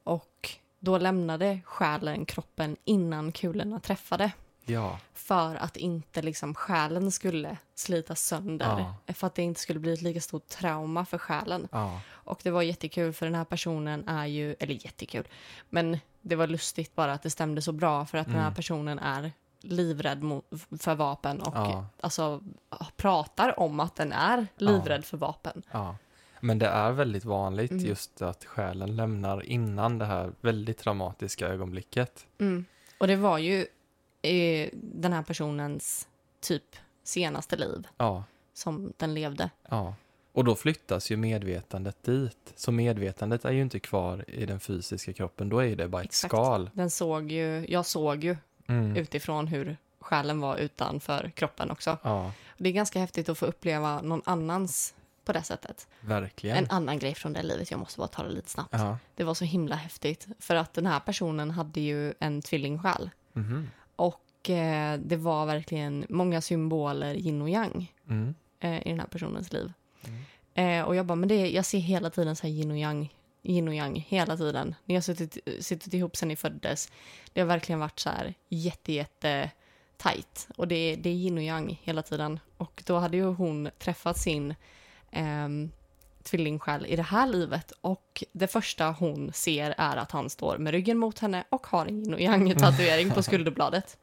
Och då lämnade själen kroppen innan kulorna träffade Ja. för att inte liksom själen skulle slitas sönder. För att det inte skulle bli ett lika stort trauma för själen. Ja. Och det var jättekul för den här personen är ju, eller jättekul, men det var lustigt bara att det stämde så bra för att den här Mm. personen är livrädd mo- för vapen och Ja. alltså pratar om att den är livrädd för vapen. Ja, men det är väldigt vanligt Mm. just att själen lämnar innan det här väldigt traumatiska ögonblicket. Mm. Och det var ju eh, den här personens typ senaste liv Ja, som den levde. ja. Och då flyttas ju medvetandet dit. Så medvetandet är ju inte kvar i den fysiska kroppen, då är ju det bara ett Exakt. skal. Den såg ju, jag såg ju Mm. utifrån hur själen var utanför kroppen också. Ja, Det är ganska häftigt att få uppleva någon annans på det sättet. verkligen. En annan grej från det livet, jag måste bara ta det lite snabbt. Ja. Det var så himla häftigt, för att den här personen hade ju en tvillingsjäl. Mhm. Och eh, det var verkligen många symboler, yin och yang, Mm. eh, i den här personens liv. Eh, och jag bara, men det, jag ser hela tiden så här yin och yang, yin och yang, hela tiden. Ni har suttit, suttit ihop sedan ni föddes. Det har verkligen varit så här jätte, jätte tajt. Och det, det är yin och yang hela tiden. Och då hade ju hon träffat sin ehm, tvillingsjäl i det här livet och det första hon ser är att han står med ryggen mot henne och har en yin och yang tatuering *laughs* på skulderbladet.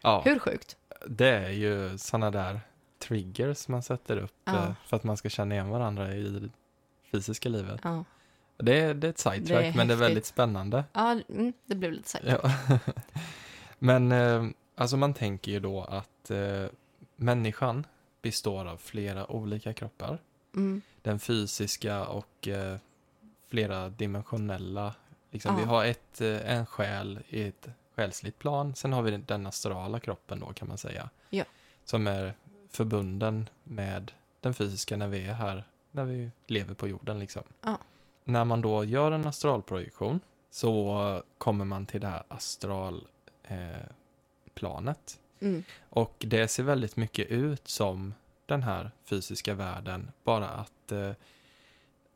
Ja, Hur sjukt? det är ju sådana där triggers man sätter upp Ja. eh, för att man ska känna igen varandra i det fysiska livet. Ja, Det är, det är ett sidetrack, men det är häftigt. väldigt spännande. ja mm, det blev lite sagt. Ja. *laughs* Men eh, alltså man tänker ju då att eh, människan består av flera olika kroppar. Mm. Den fysiska och eh, flera dimensionella. Liksom, Ja. Vi har ett, eh, en själ i ett själsligt plan. Sen har vi den- den astrala kroppen då kan man säga. Ja. Som är förbunden med den fysiska när vi är här, när vi lever på jorden liksom. Ja. När man då gör en astralprojektion så kommer man till det här astralplanet. Eh, planet. Mm. Och det ser väldigt mycket ut som den här fysiska världen, bara att eh,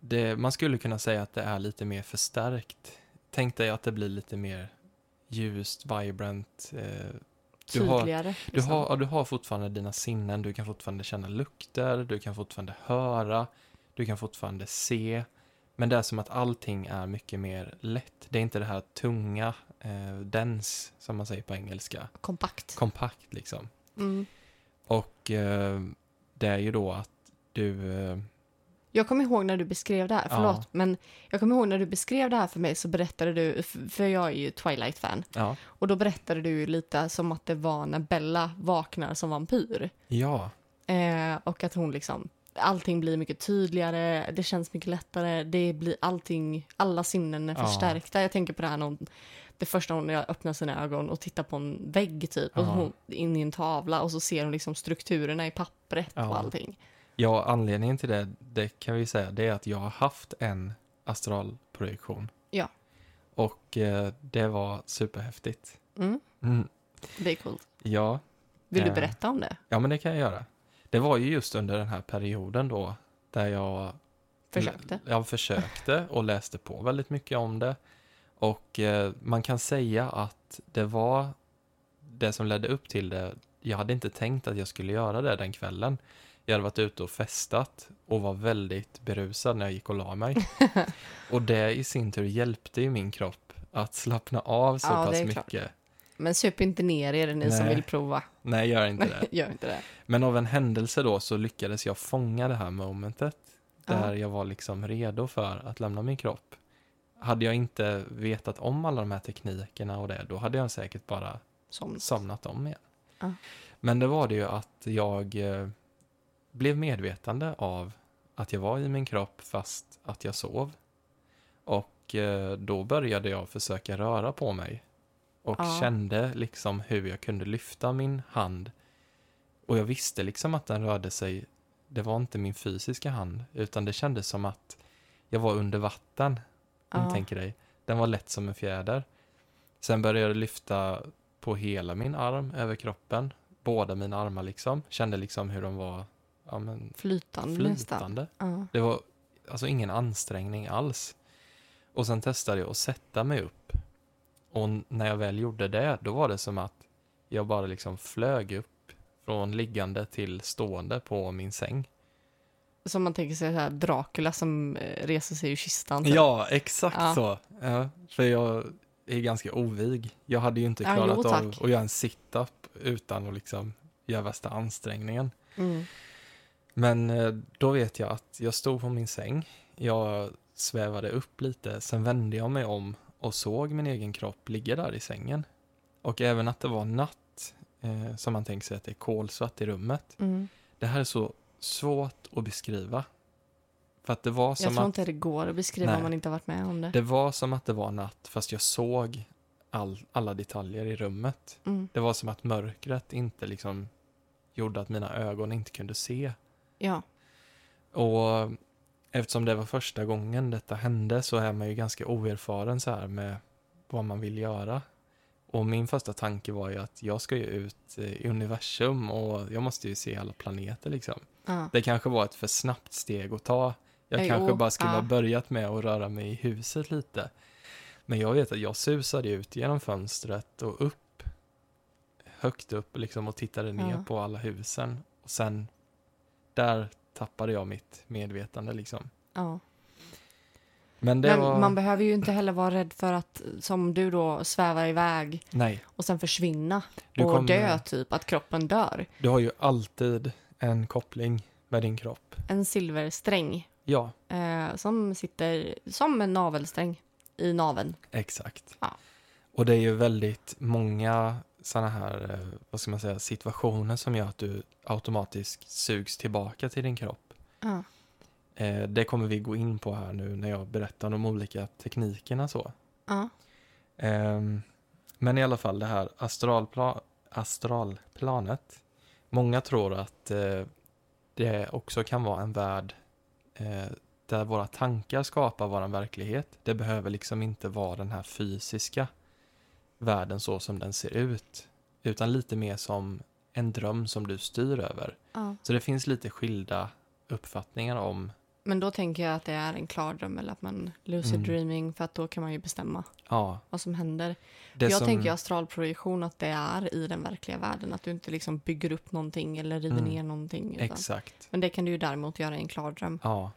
det, man skulle kunna säga att det är lite mer förstärkt. Tänk dig att det blir lite mer ljust, vibrant. Eh, Du har- Tydligare. liksom. du, har, ja, du har fortfarande dina sinnen, du kan fortfarande känna lukter, du kan fortfarande höra, du kan fortfarande se. Men det är som att allting är mycket mer lätt. Det är inte det här tunga, eh, dens, som man säger på engelska. Kompakt. Kompakt liksom. Mm. Och eh, det är ju då att du... Eh, Jag kommer ihåg när du beskrev det här, förlåt, Ja. men jag kommer ihåg när du beskrev det här för mig så berättade du, f- för jag är ju Twilight-fan, ja. och då berättade du ju lite som att det var när Bella vaknar som vampyr. Ja, Eh, och att hon liksom, allting blir mycket tydligare, det känns mycket lättare, det blir allting, alla sinnen är Ja. förstärkta. Jag tänker på det här när hon, det första hon gör, öppnar sina ögon och tittar på en vägg typ, och Ja. hon, in i en tavla och så ser hon liksom strukturerna i pappret Ja. och allting. ja anledningen till det, det kan vi säga, det är att jag har haft en astralprojektion. Ja. Och eh, det var superhäftigt. Mm, Mm. det är coolt. Ja, Vill du Eh. berätta om det? ja, men det kan jag göra. Det var ju just under den här perioden då, där jag Försökte? Jag försökte och läste på väldigt mycket om det. Och eh, man kan säga att det var det som ledde upp till det. Jag hade inte tänkt att jag skulle göra det den kvällen. Jag hade varit ute och festat och var väldigt berusad när jag gick och *laughs* la mig. och det i sin tur hjälpte ju min kropp att slappna av så Ja, det pass är mycket. klart. Men sup inte ner er ni som Nej. vill prova. *laughs* Nej, gör inte det. Gör inte det. Men av en händelse då så lyckades jag fånga det här momentet. Där Ja. jag var liksom redo för att lämna min kropp. Hade jag inte vetat om alla de här teknikerna och det, då hade jag säkert bara Som. somnat om igen. Ja. Men det var det ju att jag eh, blev medvetande av att jag var i min kropp fast att jag sov. Och eh, då började jag försöka röra på mig. Och Ja. kände liksom hur jag kunde lyfta min hand. Och jag visste liksom att den rörde sig. Det var inte min fysiska hand, utan det kändes som att jag var under vatten om du Ja. tänker dig. Den var lätt som en fjäder. Sen började jag lyfta på hela min arm över kroppen. Båda mina armar liksom. Kände liksom hur de var ja, men, Flytande, nästan. flytande. Ja. Det var alltså ingen ansträngning alls. Och sen testade jag att sätta mig upp. Och n- när jag väl gjorde det, då var det som att jag bara liksom flög upp från liggande till stående på min säng. Som man tänker sig så här Dracula som eh, reser sig ur kistan. typ. så. Ja, exakt Ja. så. Ja, för jag är ganska ovig. Jag hade ju inte Ja, klarat jo, av tack. att göra en sit-up utan att liksom göra värsta ansträngningen. Mm. Men eh, då vet jag att jag stod på min säng. Jag svävade upp lite, sen vände jag mig om och såg min egen kropp ligga där i sängen. Och även att det var natt, eh, som man tänker sig att det är kolsvart i rummet. Mm. Det här är så svårt att beskriva. För att det var som Jag tror att... inte det går att beskriva om Nej. man inte har varit med om det. Det var som att det var natt fast jag såg all, alla detaljer i rummet. Mm. Det var som att mörkret inte liksom gjorde att mina ögon inte kunde se. Ja. Och eftersom det var första gången detta hände så är man ju ganska oerfaren så här med vad man vill göra. Och min första tanke var ju att jag ska ju ut eh, i universum och jag måste ju se alla planeter liksom. Ja. Det kanske var ett för snabbt steg att ta. Jag Jo, kanske bara skulle ja. ha börjat med att röra mig i huset lite. Men jag vet att jag susade ut genom fönstret och upp, högt upp liksom och tittade ner Ja. på alla husen. Och sen, där tappade jag mitt medvetande liksom. Ja. Men det Men var... man behöver ju inte heller vara rädd för att, som du då, svävar iväg Nej, och sen försvinna du, och kommer- dö, typ. Att kroppen dör. du har ju alltid en koppling med din kropp. En silversträng Ja, eh, som sitter som en navelsträng i naveln. exakt. Ja. Och det är ju väldigt många sådana här, eh, vad ska man säga, situationer som gör att du automatiskt sugs tillbaka till din kropp. Ja. Eh, det kommer vi gå in på här nu när jag berättar om de olika teknikerna så. Ja. Ehm, men i alla fall det här astralpla- astralplanet. Många tror att eh, det också kan vara en värld eh, där våra tankar skapar vår verklighet. Det behöver liksom inte vara den här fysiska världen så som den ser ut. Utan lite mer som en dröm som du styr över. ja. Så det finns lite skilda uppfattningar om Men då tänker jag att det är en klar dröm eller att man lucid Mm. dreaming för att då kan man ju bestämma Ja, vad som händer. det jag som, tänker ju astralprojektion att det är i den verkliga världen. Att du inte liksom bygger upp någonting eller river Mm. ner någonting. Utan. Exakt. Men det kan du ju däremot göra i en klar dröm. Ja.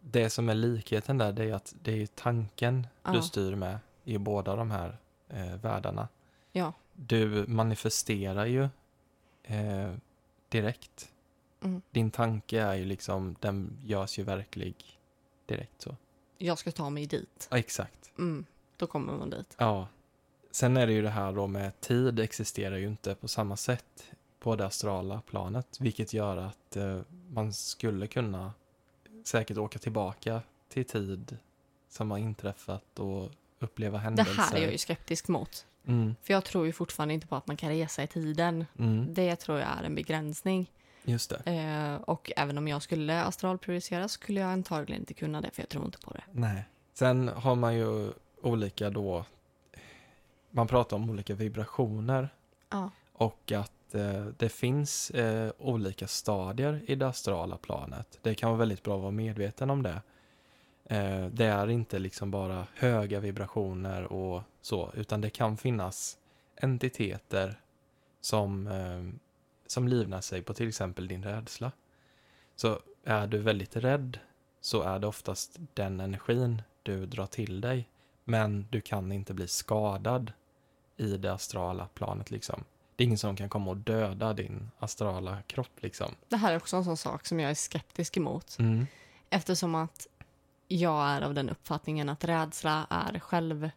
Det som är likheten där det är att det är ju tanken du Ja. styr med i båda de här eh, världarna. Ja. Du manifesterar ju eh, direkt. Mm. Din tanke är ju liksom, den görs ju verklig direkt så. Jag ska ta mig dit. Ja, exakt. Mm. Då kommer man dit. Ja. Sen är det ju det här då med tid existerar ju inte på samma sätt på det astrala planet, vilket gör att eh, man skulle kunna säkert åka tillbaka till tid som har inträffat och uppleva Det händelser. här är jag ju skeptisk mot. Mm, För jag tror ju fortfarande inte på att man kan resa i tiden. mm, Det tror jag är en begränsning. just det. Eh, och även om jag skulle astralprojicera så skulle jag antagligen inte kunna det för jag tror inte på det. Nej. Sen har man ju olika då, man pratar om olika vibrationer Ja. och att eh, det finns eh, olika stadier i det astrala planet. Det kan vara väldigt bra att vara medveten om det. Eh, det är inte liksom bara höga vibrationer och så, utan det kan finnas entiteter som, eh, som livnär sig på till exempel din rädsla. Så är du väldigt rädd så är det oftast den energin du drar till dig. Men du kan inte bli skadad i det astrala planet liksom. Det är ingen som kan komma och döda din astrala kropp liksom. Det här är också en sån sak som jag är skeptisk emot. Mm. Eftersom att jag är av den uppfattningen att rädsla är själv...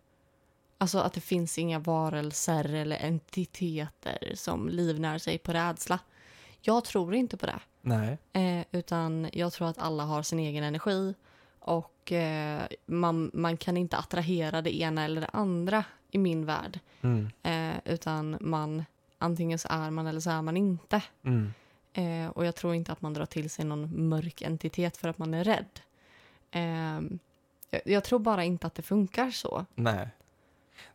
Alltså att det finns inga varelser eller entiteter som livnär sig på rädsla. Jag tror inte på det. Nej. Eh, utan jag tror att alla har sin egen energi och eh, man, man kan inte attrahera det ena eller det andra i min värld. Mm. Eh, utan man, antingen så är man eller så är man inte. Mm. Eh, och jag tror inte att man drar till sig någon mörk entitet för att man är rädd. Eh, jag, jag tror bara inte att det funkar så. Nej.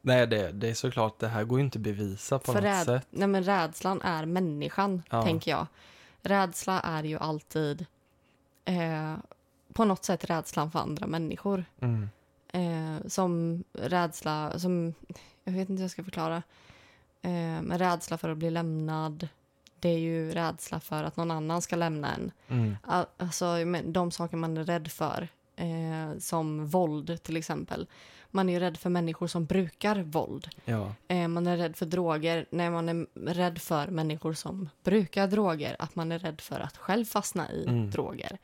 Nej, det, det är såklart, det här går ju inte att bevisa på För något räd- sätt. Nej, men rädslan är människan, Ja. tänker jag. Rädsla är ju alltid eh, på något sätt rädslan för andra människor. Mm. Eh, som rädsla, som, jag vet inte hur jag ska förklara. Eh, men rädsla för att bli lämnad. Det är ju rädsla för att någon annan ska lämna en. Mm. Al- Alltså men de saker man är rädd för. Eh, som våld till exempel. Man är ju rädd för människor som brukar våld. Ja. Eh, man är rädd för droger. När man är rädd för människor som brukar droger. Att man är rädd för att själv fastna i Mm. droger.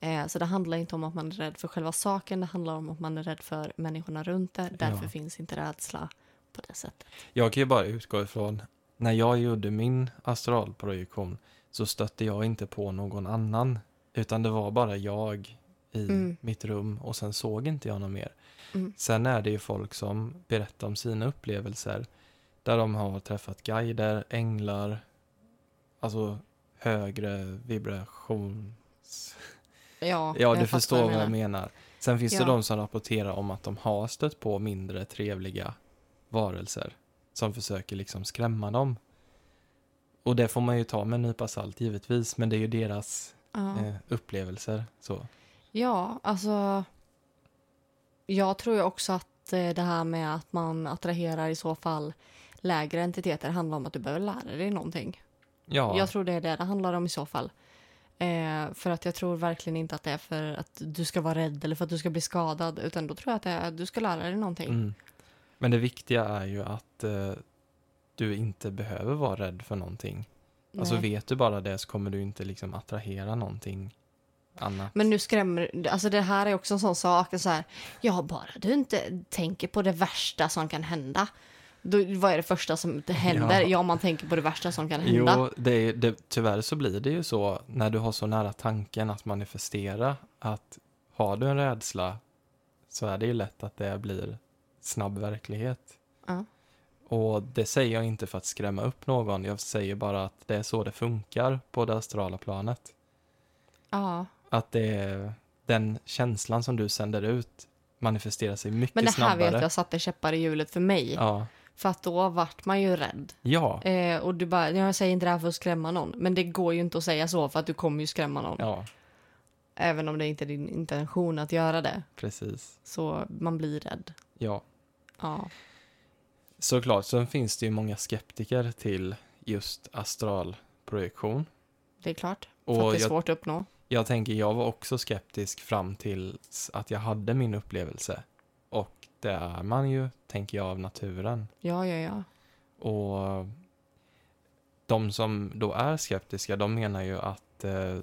Eh, så det handlar inte om att man är rädd för själva saken. Det handlar om att man är rädd för människorna runt det. Därför Ja. finns inte rädsla på det sättet. Jag kan ju bara utgå ifrån, när jag gjorde min astralprojektion så stötte jag inte på någon annan, utan det var bara jag i Mm. mitt rum och sen såg inte jag något mer. Mm. Sen är det ju folk som berättar om sina upplevelser där de har träffat guider, änglar, alltså högre vibrations... Ja, Ja, du jag fattar förstår vad menar. jag menar. Sen finns det Ja. de som rapporterar om att de har stött på mindre trevliga varelser som försöker liksom skrämma dem. Och det får man ju ta med en nypa salt givetvis, men det är ju deras Ja. eh, upplevelser. Så. Ja, alltså... Jag tror ju också att eh, det här med att man attraherar i så fall lägre entiteter handlar om att du behöver lära dig någonting. Ja, Jag tror det är det det handlar om i så fall. Eh, för att jag tror verkligen inte att det är för att du ska vara rädd eller för att du ska bli skadad. Utan då tror jag att det är att du ska lära dig någonting. Mm. Men det viktiga är ju att eh, du inte behöver vara rädd för någonting. Alltså Nej. vet du bara det så kommer du inte liksom attrahera någonting annat. Men nu skrämmer Alltså det här är också en sån sak. Så här, ja, bara du inte tänker på det värsta som kan hända. Då, vad är det första som händer? Ja. Ja. man tänker på det värsta som kan hända. Jo, det är, det, tyvärr så blir det ju så när du har så nära tanken att manifestera att har du en rädsla så är det ju lätt att det blir snabb verklighet. Ja. Och det säger jag inte för att skrämma upp någon, jag säger bara att det är så det funkar på det astrala planet. Ja. att det är den känslan som du sänder ut manifesterar sig mycket Men det här snabbare. vet jag satte käppar i hjulet för mig. Ja. För att då vart man ju rädd. Ja. Eh, och du bara, jag säger inte det här för att skrämma någon. Men det går ju inte att säga så för att du kommer ju skrämma någon. ja, Även om det inte är din intention att göra det. precis. Så man blir rädd. Ja. Ja. Såklart, sen finns det ju många skeptiker till just astralprojektion. Det är klart. För Och att det är jag- svårt att uppnå. Jag tänker, jag var också skeptisk fram till att jag hade min upplevelse. Och det är man ju, tänker jag, av naturen. Ja, ja, ja. Och de som då är skeptiska, de menar ju att eh,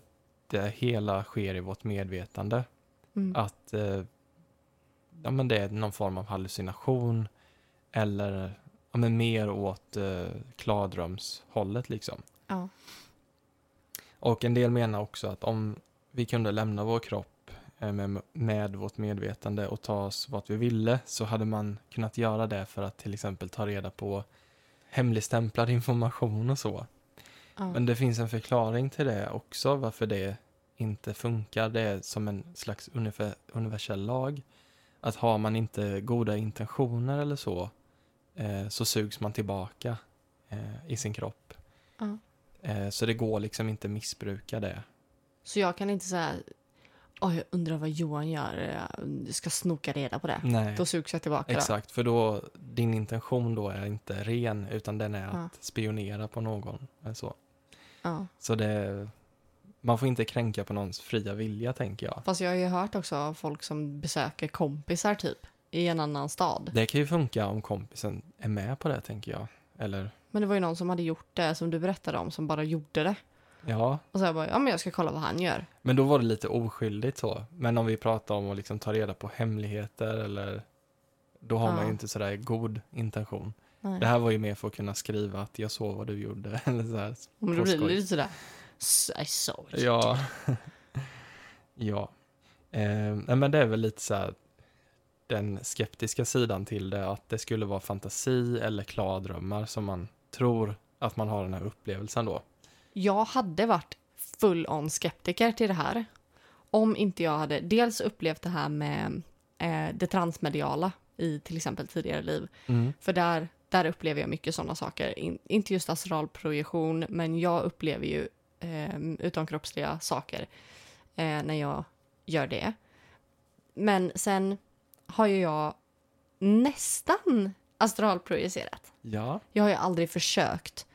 det hela sker i vårt medvetande. Mm. att eh, ja, men det är någon form av hallucination eller ja, men mer åt eh, klardrömshållet liksom. Ja. Och en del menar också att om vi kunde lämna vår kropp eh, med, med vårt medvetande och ta oss vart vi ville så hade man kunnat göra det för att till exempel ta reda på hemligstämplad information och så. ja. Men det finns en förklaring till det också, varför det inte funkar. Det är som en slags unife- universell lag. Att har man inte goda intentioner eller så, eh, så sugs man tillbaka eh, i sin kropp. Ja. Eh, så det går liksom inte missbruka det. Så jag kan inte säga, åh jag undrar vad Johan gör, jag ska snoka reda på det. Nej, Då sugs jag tillbaka. då. exakt. För då, din intention då är inte ren, utan den är Ja. att spionera på någon. Eller så Ja. så det, man får inte kränka på någons fria vilja, tänker jag. Fast jag har ju hört också av folk som besöker kompisar typ i en annan stad. Det kan ju funka om kompisen är med på det, tänker jag. Eller, Men det var ju någon som hade gjort det som du berättade om som bara gjorde det. ja. Och så jag bara, ja men jag ska kolla vad han gör. Men då var det lite oskyldigt så. Men om vi pratar om att liksom ta reda på hemligheter eller... Då har Ja. man ju inte sådär god intention. Nej. Det här var ju mer för att kunna skriva att jag såg vad du gjorde. *laughs* Eller så här. Men då blir det påskoj. lite sådär, "S- I saw it. Ja. *laughs* ja. Eh, nej, men det är väl lite så här den skeptiska sidan till det, att det skulle vara fantasi eller klardrömmar som man tror att man har den här upplevelsen då. Jag hade varit full on skeptiker till det här. Om inte jag hade dels upplevt det här med eh, det transmediala i till exempel tidigare liv. För där, där upplever jag mycket sådana saker. In, inte just astralprojektion, men jag upplever ju eh, utomkroppsliga saker eh, när jag gör det. Men sen har ju jag nästan astralprojicerat. Ja. Jag har ju aldrig försökt.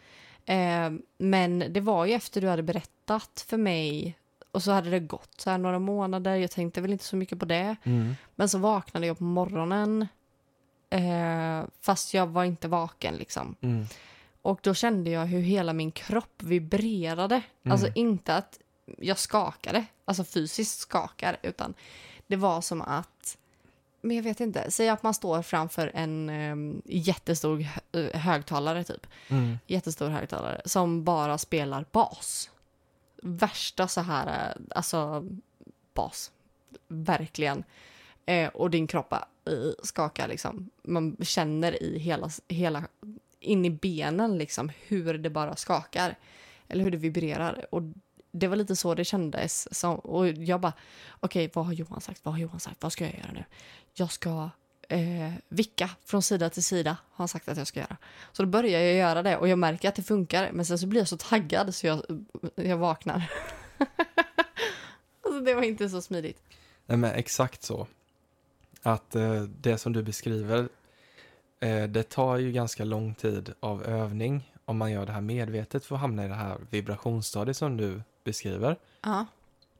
Eh, men det var ju efter du hade berättat för mig och så hade det gått så här några månader. Jag tänkte väl inte så mycket på det. Men så vaknade jag på morgonen eh, fast jag var inte vaken. liksom. Mm. Och Då kände jag hur hela min kropp vibrerade. Alltså inte att jag skakade, alltså fysiskt skakar, utan det var som att... Men jag vet inte. Säg att man står framför en eh, jättestor hö- eh, högtalare, typ. Mm. Jättestor högtalare som bara spelar bas. Värsta så här, eh, alltså bas. Verkligen. Eh, och din kropp bara, eh, skakar liksom. Man känner i hela, hela, in i benen liksom hur det bara skakar. Eller hur det vibrerar. Och det var lite så det kändes. Som, och jag bara, okej vad har Johan sagt? Vad har Johan sagt? Vad ska jag göra nu? Jag ska eh, vicka från sida till sida har han sagt att jag ska göra. Så då börjar jag göra det och jag märker att det funkar. Men sen så blir jag så taggad så jag, jag vaknar. *laughs* alltså det var inte så smidigt. Nej, men exakt så. Att eh, det som du beskriver, eh, det tar ju ganska lång tid av övning om man gör det här medvetet för att hamna i det här vibrationsstadiet som du beskriver. Ja.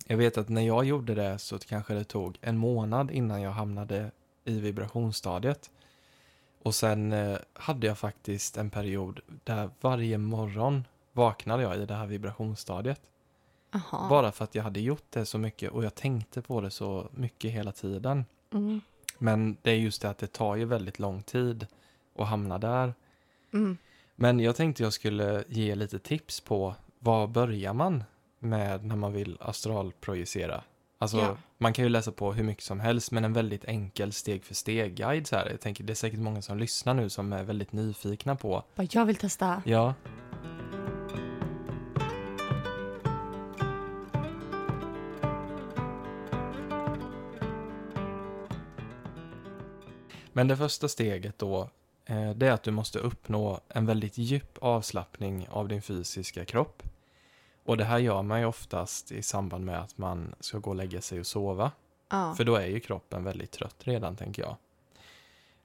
Jag vet att när jag gjorde det så kanske det tog en månad innan jag hamnade i vibrationsstadiet. Och sen eh, hade jag faktiskt en period där varje morgon vaknade jag i det här vibrationsstadiet. Aha. Bara för att jag hade gjort det så mycket och jag tänkte på det så mycket hela tiden. Mm. Men det är just det att det tar ju väldigt lång tid att hamna där. Mm. Men jag tänkte jag skulle ge lite tips på vad börjar man med när man vill astralprojicera? Alltså, Ja. man kan ju läsa på hur mycket som helst, men en väldigt enkel steg för steg-guide så här. Jag tänker det är säkert många som lyssnar nu som är väldigt nyfikna på. Bara, jag vill testa. Ja. Men det första steget då, eh, det är att du måste uppnå en väldigt djup avslappning av din fysiska kropp. Och det här gör man ju oftast i samband med att man ska gå och lägga sig och sova. Ja. För då är ju kroppen väldigt trött redan, tänker jag.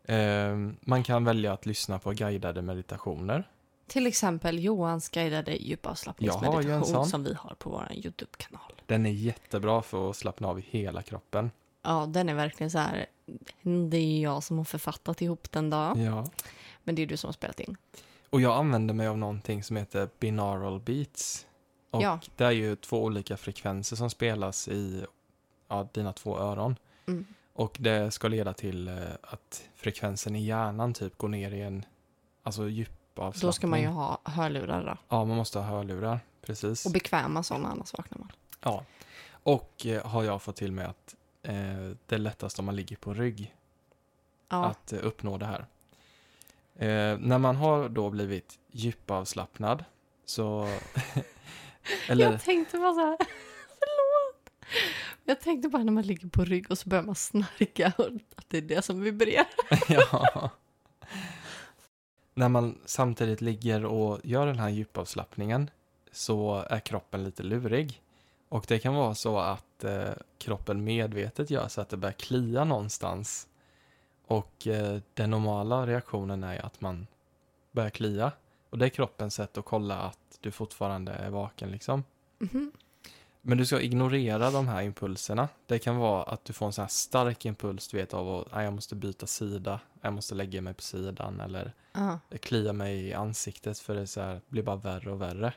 Eh, Man kan välja att lyssna på guidade meditationer. Till exempel Johans guidade Jag har ju en djupavslappningsmeditation sån. som vi har på vår YouTube-kanal. Den är jättebra för att slappna av i hela kroppen. Ja, den är verkligen så här. Det är jag som har författat ihop den då. Ja. Men det är du som har spelat in. Och jag använder mig av någonting som heter binaural beats. Och Ja. det är ju två olika frekvenser som spelas i ja, dina två öron. Mm. Och det ska leda till eh, att frekvensen i hjärnan typ går ner i en alltså djupavslappning. Då ska man ju ha hörlurar då. Ja, man måste ha hörlurar. Precis. Och bekväma sådana, annars vaknar man. ja. Och eh, har jag fått till mig att eh, det är lättast om man ligger på rygg. Ja, att eh, uppnå det här. Eh, när man har då blivit djupavslappnad så... eller, Jag tänkte bara så här. *laughs* Förlåt. Jag tänkte bara när man ligger på rygg och så börjar man snarka och att det är det som vibrerar. ja. När man samtidigt ligger och gör den här djupavslappningen så är kroppen lite lurig. Och det kan vara så att eh, kroppen medvetet gör så att det börjar klia någonstans. Och eh, den normala reaktionen är att man börjar klia. Och det är kroppens sätt att kolla att du fortfarande är vaken liksom. Mhm. Men du ska ignorera de här impulserna. Det kan vara att du får en sån här stark impuls, du vet av att "Nej, jag måste byta sida, jag måste lägga mig på sidan eller Ja. klia mig i ansiktet för det, är så här, det blir bara värre och värre.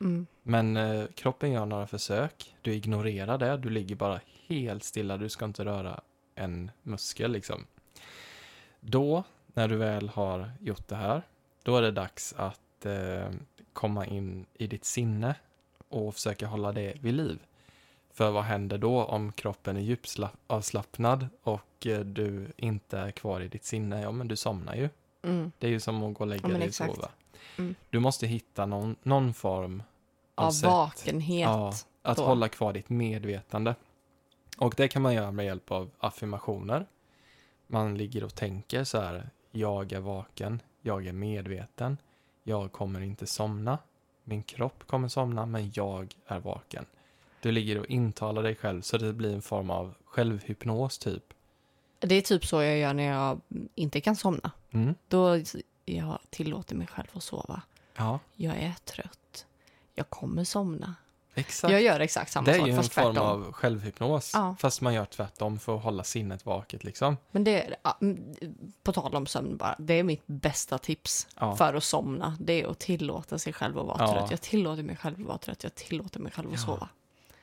Mm. Men eh, kroppen gör några försök, du ignorerar det, du ligger bara helt stilla, du ska inte röra en muskel liksom. Då, när du väl har gjort det här, då är det dags att eh, komma in i ditt sinne och försöka hålla det vid liv. För vad händer då om kroppen är djupavslappnad och eh, du inte är kvar i ditt sinne? Ja, men du somnar ju. Mm. Det är ju som att gå och lägga Ja, men dig och exakt. sova. Mm. Du måste hitta någon, någon form av Av sätt vakenhet. Ja, att då. hålla kvar ditt medvetande. Och det kan man göra med hjälp av affirmationer. Man ligger och tänker så här, jag är vaken, jag är medveten, jag kommer inte somna, min kropp kommer somna, men jag är vaken. Du ligger och intalar dig själv så det blir en form av självhypnos typ. Det är typ så jag gör när jag inte kan somna. Mm. Då jag tillåter mig själv att sova. Ja, Jag är trött. Jag kommer somna. exakt. Jag gör exakt samma det är sak, ju en fast form tvärtom. av självhypnos, Ja. fast man gör tvärtom för att hålla sinnet vaket liksom. Men det, ja, mm, på tal om sömn bara, det är mitt bästa tips Ja. för att somna. Det är att tillåta sig själv att vara Ja. trött. Jag tillåter mig själv att vara trött, jag tillåter mig själv att Ja. sova.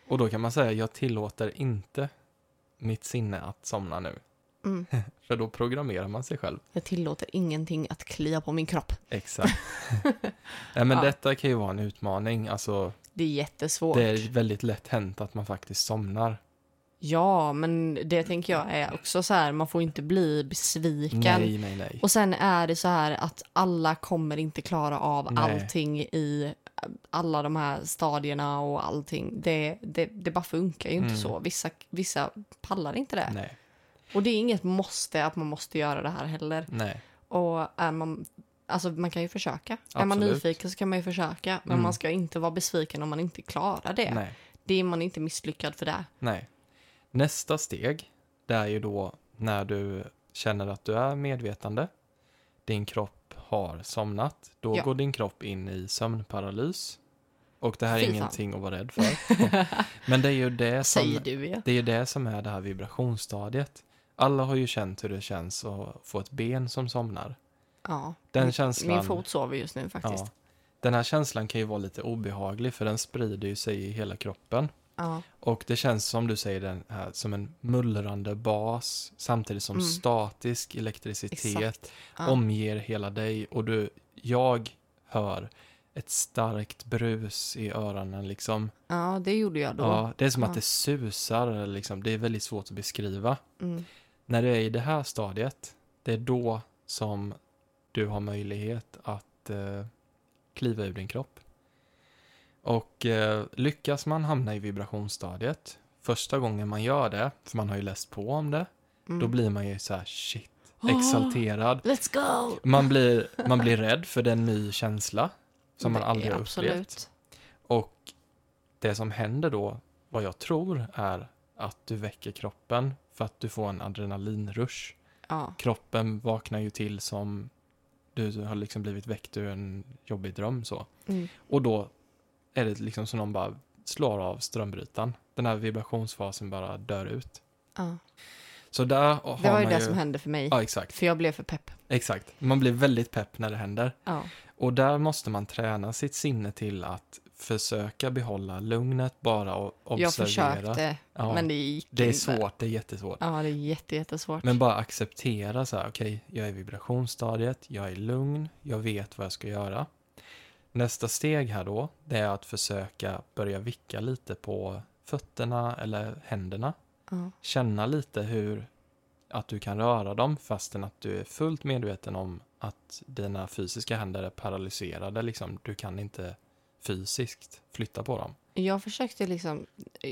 Och då kan man säga, jag tillåter inte mitt sinne att somna nu. Mm. *laughs* För då programmerar man sig själv. Jag tillåter ingenting att klia på min kropp. *laughs* Exakt. Nej, men Ja. detta kan ju vara en utmaning. Alltså, Det är jättesvårt. det är väldigt lätt hänt att man faktiskt somnar. Ja, men det tänker jag är också så här, man får inte bli besviken. Nej, nej, nej. Och sen är det så här att alla kommer inte klara av Nej. allting i alla de här stadierna och allting. Det, det, det bara funkar ju inte Mm. så. Vissa, vissa pallar inte det. Nej, Och det är inget måste att man måste göra det här heller. nej. Och är man, alltså man kan ju försöka. Är man Absolut. nyfiken så kan man ju försöka. Men Mm. man ska inte vara besviken om man inte klarar det. nej. Det är man inte misslyckad för det. Nej. Nästa steg, det är ju då när du känner att du är medvetande. Din kropp har somnat. Då Ja. går din kropp in i sömnparalys. Och det här är Fy fan. ingenting att vara *laughs* rädd för. Men det är ju det Säger som, du ja. det, är ju det som är det här vibrationsstadiet. Alla har ju känt hur det känns att få ett ben som somnar. ja. Den Min- känslan... Min fot sover just nu faktiskt. Ja. Den här känslan kan ju vara lite obehaglig för den sprider ju sig i hela kroppen. Ja. Och det känns som du säger den här, som en mullrande bas samtidigt som Mm. statisk elektricitet Exakt. Ja. omger hela dig och du, jag hör ett starkt brus i öronen liksom. ja, det gjorde jag då. Ja, det är som Ja. att det susar liksom. Det är väldigt svårt att beskriva. Mm. När du är i det här stadiet, det är då som du har möjlighet att eh, kliva ur din kropp. Och eh, lyckas man hamna i vibrationsstadiet, första gången man gör det, för man har ju läst på om det, Mm. Ah. då blir man ju så här shit, Åh, exalterad. Let's go! Man blir, man blir rädd för den ny känsla som man Det- aldrig har absolut. upplevt. Och det som händer då, vad jag tror, är att du väcker kroppen för att du får en adrenalinrush. Ja. Kroppen vaknar ju till som du har liksom blivit väckt ur en jobbig dröm så. Mm. Och då är det liksom som någon bara slår av strömbrytaren. Den här vibrationsfasen bara dör ut. Ja. Så där Det har var ju man det ju... som hände för mig. Ja, exakt. För jag blev för pepp. Exakt. Man blir väldigt pepp när det händer. Ja. Och där måste man träna sitt sinne till att försöka behålla lugnet bara och observera. Jag försökte, Ja, men det gick det är inte. svårt, det är jättesvårt. Ja, det är jätte, jättesvårt. Men bara acceptera så här, okej, jag är i vibrationsstadiet, jag är lugn, jag vet vad jag ska göra. Nästa steg här då, det är att försöka börja vicka lite på fötterna eller händerna. Ja. Känna lite hur att du kan röra dem fastän att du är fullt medveten om att dina fysiska händer är paralyserade. Liksom. Du kan inte fysiskt flytta på dem. Jag försökte liksom,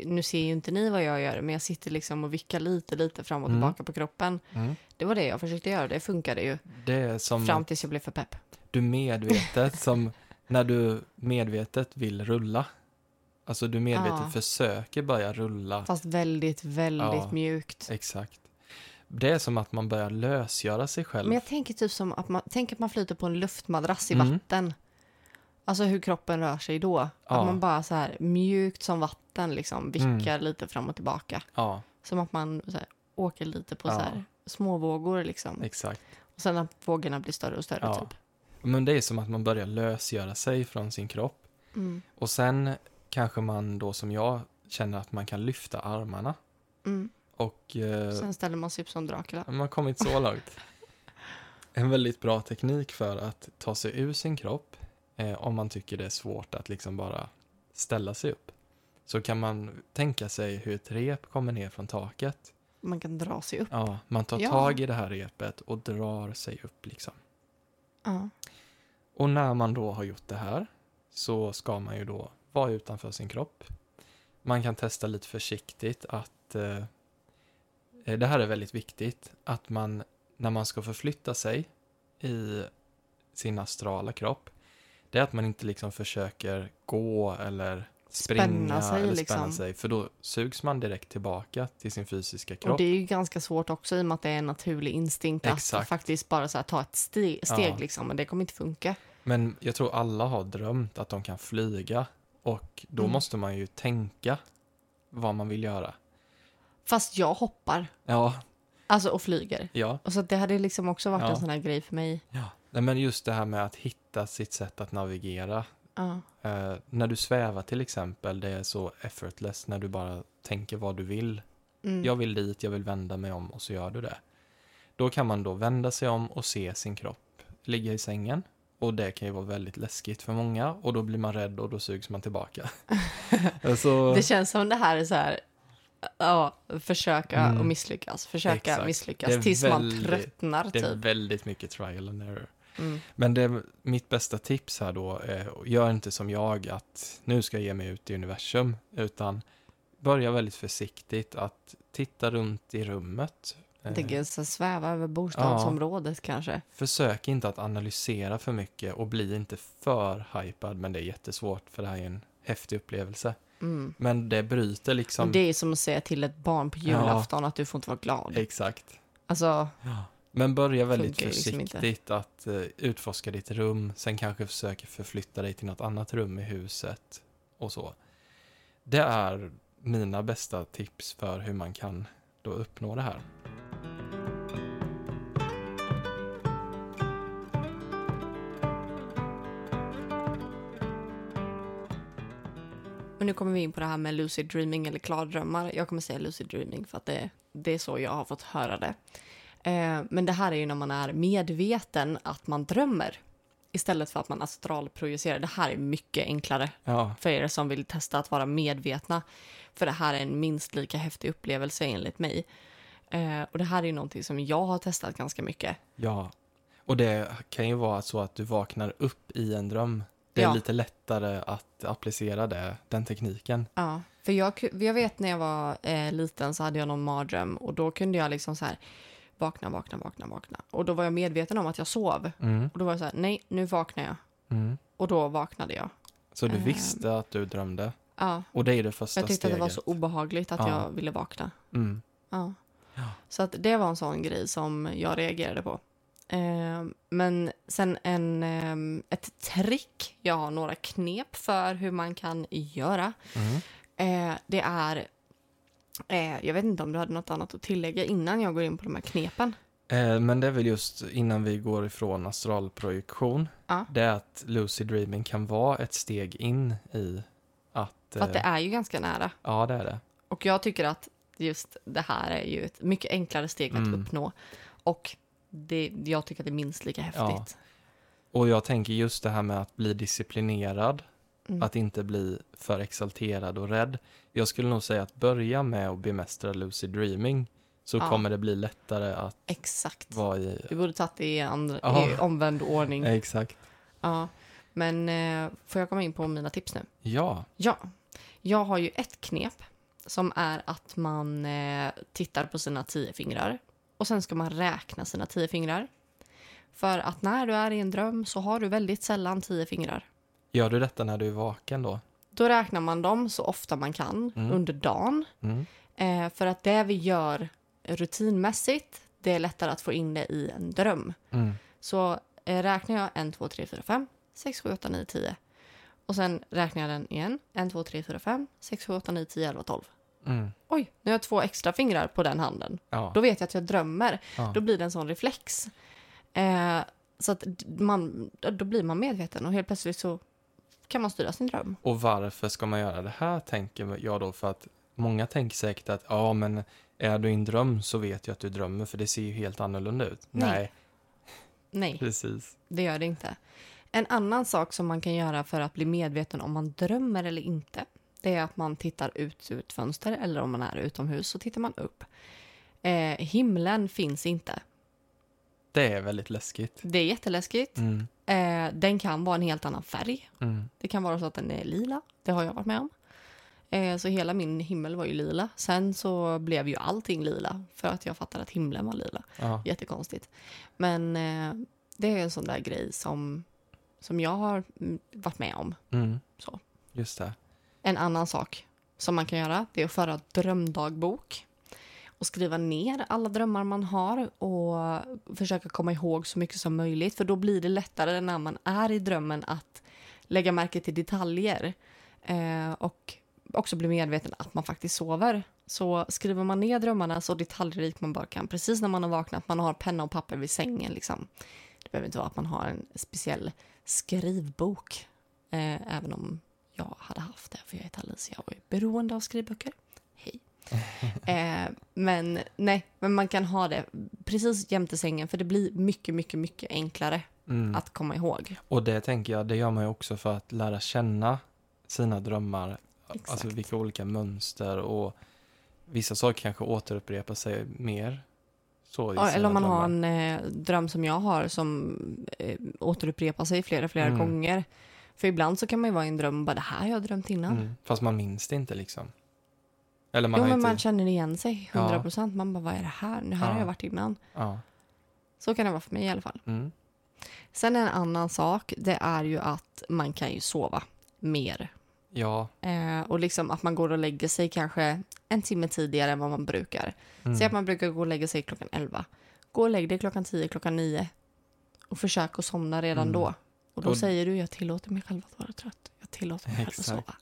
nu ser ju inte ni vad jag gör, men jag sitter liksom och vickar lite, lite fram och Mm. tillbaka på kroppen. Det var det jag försökte göra, det funkade ju. Det är som... Fram tills jag blev för pepp. du medvetet som när du medvetet vill rulla. Alltså du medvetet Ja. försöker börja rulla. Fast väldigt, väldigt Ja. mjukt. Exakt. Det är som att man börjar lösgöra sig själv. Men jag tänker typ som att man, tänk att man flyter på en luftmadrass i Mm. vatten. Alltså hur kroppen rör sig då. Ja. Mm. Att man bara så här mjukt som vatten liksom vickar lite fram och tillbaka. Ja, Som att man så här, åker lite på Ja. så här små vågor liksom. exakt. Och sen att vågorna blir större och större Ja. typ. Men det är som att man börjar lösgöra sig från sin kropp. Mm. Och sen kanske man då som jag känner att man kan lyfta armarna. Mm. Och eh, Sen ställer man sig upp som Dracula. man har kommit så långt. *laughs* En väldigt bra teknik för att ta sig ur sin kropp eh, om man tycker det är svårt att liksom bara ställa sig upp. Så kan man tänka sig hur ett rep kommer ner från taket. Man kan dra sig upp. Ja, man tar Ja. tag i det här repet och drar sig upp liksom. Ja. Och när man då har gjort det här så ska man ju då vara utanför sin kropp. Man kan testa lite försiktigt att eh, det här är väldigt viktigt att man när man ska förflytta sig i sin astrala kropp det är att man inte liksom försöker gå eller springa Spänna sig, eller spänna liksom. sig för då sugs man direkt tillbaka till sin fysiska kropp. Och det är ju ganska svårt också i och med att det är en naturlig instinkt att Exakt. faktiskt bara så här, ta ett ste- steg Ja. liksom. Men det kommer inte funka. Men jag tror alla har drömt att de kan flyga och då Mm. måste man ju tänka vad man vill göra. Fast jag hoppar. Ja, Alltså och flyger. ja. Och så att det hade liksom också varit Ja. en sån här grej för mig. ja. Nej, men just det här med att hitta sitt sätt att navigera. Ja. Eh, när du svävar till exempel, det är så effortless när du bara tänker vad du vill. Mm. Jag vill dit, jag vill vända mig om och så gör du det. Då kan man då vända sig om och se sin kropp ligga i sängen. Och det kan ju vara väldigt läskigt för många och då blir man rädd och då sugs *laughs* man tillbaka. alltså, Det känns som det här är så här, ja, försöka och misslyckas, försöka Mm. Exakt. Det är misslyckas tills man väldigt- tröttnar Det är typ. väldigt mycket trial and error. Mm. Men det är mitt bästa tips här då, eh, gör inte som jag att nu ska jag ge mig ut i universum, utan börja väldigt försiktigt att titta runt i rummet. Eh, Jag tänker så här, sväva över bostadsområdet kanske. Försök inte att analysera för mycket och bli inte för hypad, men det är jättesvårt för det här är en häftig upplevelse. Mm. Men det bryter liksom... Och det är som att säga till ett barn på julafton att du får inte vara glad. Exakt. Alltså, Men börja väldigt Funkar ju liksom försiktigt inte. att eh, utforska ditt rum, sen kanske försöka förflytta dig till något annat rum i huset. och så. Det är mina bästa tips för hur man kan då uppnå det här. Men nu kommer vi in på det här med lucid dreaming eller klardrömmar. Jag kommer säga lucid dreaming för att det, det är så jag har fått höra det. Eh, men det här är ju när man är medveten att man drömmer istället för att man astralprojicerar. Det här är mycket enklare Ja, för er som vill testa att vara medvetna. För det här är en minst lika häftig upplevelse enligt mig. Eh, och det här är ju någonting som jag har testat ganska mycket. ja. Och det kan ju vara så att du vaknar upp i en dröm. Det är Ja. lite lättare att applicera det, den tekniken. Ja, för jag, ku- jag vet när jag var eh, liten så hade jag någon mardröm och då kunde jag liksom så här vakna, vakna, vakna, vakna. Och då var jag medveten om att jag sov. Mm, Och då var jag så här, nej, nu vaknar jag. mm. Och då vaknade jag. Så du Ehm. visste att du drömde. Ja, Och det är det men första jag tyckte att steget. det var så obehagligt att Ja. jag ville vakna. mm. Ja. Ja. Så att det var en sån grej som jag reagerade på. Ehm, men sen en, ehm, ett trick, jag har några knep för hur man kan göra. Mm. Eh, det är... Eh, jag vet inte om du hade något annat att tillägga innan jag går in på de här knepen. Eh, Men det är väl just innan vi går ifrån astralprojektion. Ja. Det är att lucid dreaming kan vara ett steg in i att... För att det eh, är ju ganska nära. Ja, det är det. Och jag tycker att just det här är ju ett mycket enklare steg att Mm. uppnå. Och det, jag tycker att det är minst lika häftigt. Och jag tänker just det här med att bli disciplinerad. Mm. Att inte bli för exalterad och rädd. Jag skulle nog säga att börja med att bemästra lucid dreaming. Så Ja. kommer det bli lättare att Exakt. vara i... Du borde tagit det i, andra, Ja. Eh. i omvänd ordning. Exakt. Ja. Men eh, får jag komma in på mina tips nu? Ja. Ja, jag har ju ett knep som är att man eh, tittar på sina tio fingrar och sen ska man räkna sina tio fingrar. För att när du är i en dröm så har du väldigt sällan tio fingrar. Gör du detta när du är vaken då? Då räknar man dem så ofta man kan Mm. under dagen. Mm. Eh, för att det vi gör rutinmässigt, det är lättare att få in det i en dröm. Mm. Så eh, räknar jag 1, 2, 3, 4, 5, 6, 7, 8, 9, 10. Och sen räknar jag den igen. 1, 2, 3, 4, 5, 6, 7, 8, 9, 10, 11, 12. Mm. Oj, nu har jag två extra fingrar på den handen. Ja. Då vet jag att jag drömmer. ja. Då blir det en sån reflex. Eh, så att d- man, då blir man medveten och helt plötsligt så kan man styra sin dröm. Och varför ska man göra det här, tänker jag då. För att många tänker säkert att ja, men är du i en dröm så vet jag att du drömmer, för det ser ju helt annorlunda ut. Nej. Nej, Nej, precis. det gör det inte. En annan sak som man kan göra för att bli medveten om man drömmer eller inte, det är att man tittar ut ur ett fönster eller om man är utomhus så tittar man upp. Eh, himlen finns inte. Det är väldigt läskigt. Det är jätteläskigt. Mm, Eh, den kan vara en helt annan färg. mm, Det kan vara så att den är lila. Det har jag varit med om. Eh, så hela min himmel var ju lila. Sen så blev ju allting lila för att jag fattade att himlen var lila. ja. Jättekonstigt. Men eh, det är en sån där grej som, som jag har mm, varit med om. Mm. Så. Just det. En annan sak som man kan göra det är att föra drömdagbok och skriva ner alla drömmar man har och försöka komma ihåg så mycket som möjligt för då blir det lättare när man är i drömmen att lägga märke till detaljer eh, och också bli medveten att man faktiskt sover. Så skriver man ner drömmarna så detaljrikt man bara kan precis när man har vaknat, man har penna och papper vid sängen liksom. Det behöver inte vara att man har en speciell skrivbok eh, även om jag hade haft det, för jag heter Alicia och är beroende av skrivböcker. *laughs* Hej. eh, men nej, men man kan ha det precis jämte sängen för det blir mycket, mycket, mycket enklare Mm. att komma ihåg. Och det tänker jag, det gör man ju också för att lära känna sina drömmar. Exakt. Alltså vilka olika mönster och vissa saker kanske återupprepar sig mer. Så i Ja, sina Eller om man har drömmar. en eh, dröm som jag har som eh, återupprepar sig flera, flera Mm. gånger. För ibland så kan man ju vara i en dröm och bara det här har jag drömt innan. Mm. Fast man minns det inte liksom. Eller man jo, har men inte... man känner igen sig Ja. 100 procent. Man bara, vad är det här? Det här Ja. har jag varit innan. Ja. Så kan det vara för mig i alla fall. Mm. Sen en annan sak, det är ju att man kan ju sova mer. Ja. Eh, och liksom att man går och lägger sig kanske en timme tidigare än vad man brukar. Mm. Säg att man brukar gå och lägga sig klockan 11. Gå och lägg dig klockan 10, klockan 9. Och försök att somna redan Mm. då. Och då Och- säger du, jag tillåter mig själv att vara trött. Jag tillåter mig själv att Exakt. sova.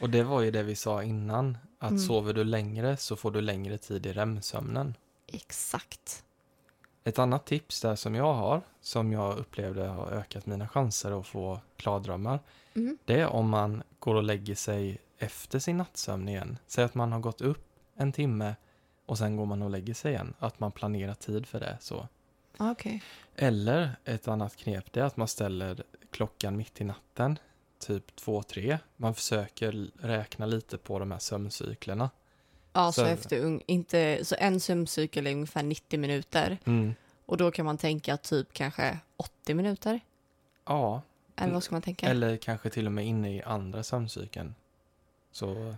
Och det var ju det vi sa innan, att Mm. sover du längre så får du längre tid i REM-sömnen. Exakt. Ett annat tips där som jag har, som jag upplevde har ökat mina chanser att få klardrömmar, Mm. det är om man går och lägger sig efter sin nattsömn igen. Säg att man har gått upp en timme och sen går man och lägger sig igen. Att man planerar tid för det. så. Ah, Okej. Eller ett annat knep det är att man ställer klockan mitt i natten, typ 2-3. Man försöker l- räkna lite på de här sömncyklerna. Ja, så, Så- efter ung, inte, så en sömncykel är ungefär 90 minuter och då kan man tänka typ kanske 80 minuter. Ja, Eller vad ska man tänka? Mm. eller kanske till och med inne i andra sömncykeln. Mm. Så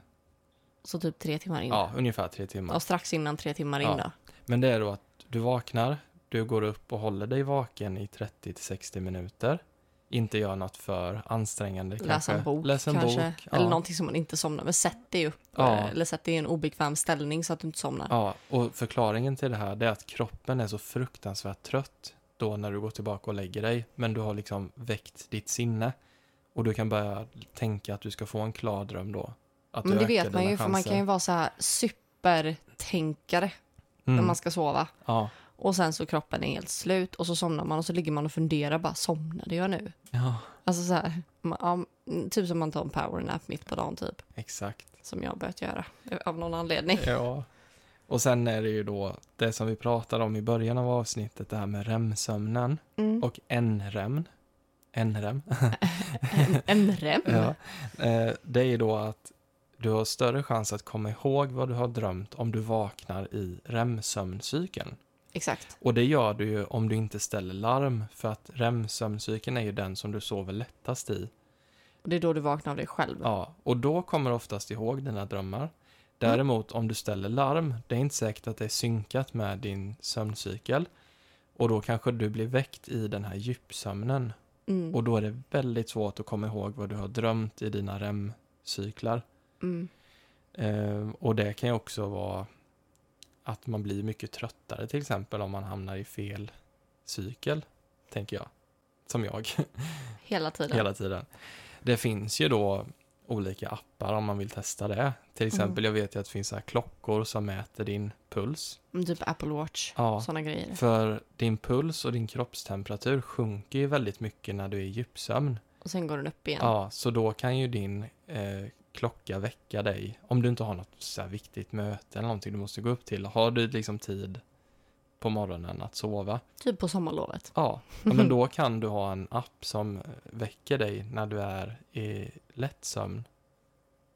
Så typ tre timmar in. ja, ungefär tre timmar. Ja, strax innan tre timmar in Ja. då. Men det är då att du vaknar, du går upp och håller dig vaken i 30 till 60 minuter. Inte gör något för ansträngande. Läsa en kanske. bok Läs en kanske. Bok, Eller ja. någonting som man inte somnar. Men sätt dig upp. eh, Ja. Eller sätt dig i en obekväm ställning så att du inte somnar. Ja, och förklaringen till det här det är att kroppen är så fruktansvärt trött då när du går tillbaka och lägger dig. Men du har liksom väckt ditt sinne och du kan börja tänka att du ska få en klar dröm då. Att men det du ökar vet man dina ju för man chanser. kan ju vara så här supertänkare Mm, när man ska sova. Ja, Och sen så kroppen är helt slut och så somnar man och så ligger man och funderar bara somnade jag nu? ja, Alltså så här, man- ja, mm, typ som man tar en powernap mitt på dagen typ. exakt. Som jag har börjat göra eh, av någon anledning. Ja. Och sen är det ju då det som vi pratade om i början av avsnittet, det här med REM-sömnen Mm. och NREM. NREM. En, *laughs* en rem. Ja. *laughs* Eh, Det är ju då att du har större chans att komma ihåg vad du har drömt om du vaknar i REM-sömncykeln. Exakt. Och det gör du ju om du inte ställer larm, för att REM-sömncykeln är ju den som du sover lättast i. Och det är då du vaknar av dig själv. Ja, och då kommer du oftast ihåg dina drömmar. Däremot om du ställer larm, det är inte säkert att det är synkat med din sömncykel. Och då kanske du blir väckt i den här djupsömnen. Mm. Och då är det väldigt svårt att komma ihåg vad du har drömt i dina REM-cyklar. Mm. Eh, och det kan ju också vara att man blir mycket tröttare till exempel om man hamnar i fel cykel, tänker jag. Som jag. Hela tiden. *laughs* Hela tiden. Det finns ju då olika appar om man vill testa det. Till exempel, jag vet ju att det finns så här klockor som mäter din puls. Mm, Typ Apple Watch. Ja, Såna grejer. för din puls och din kroppstemperatur sjunker ju väldigt mycket när du är i djupsömn. Och sen går den upp igen. Ja, så då kan ju din eh, klocka väcka dig om du inte har något så här viktigt möte eller någonting du måste gå upp till. Har du liksom tid på morgonen att sova? Typ på sommarlovet. Ja, ja, *laughs* men då kan du ha en app som eh, väcker dig när du är i lätt sömn.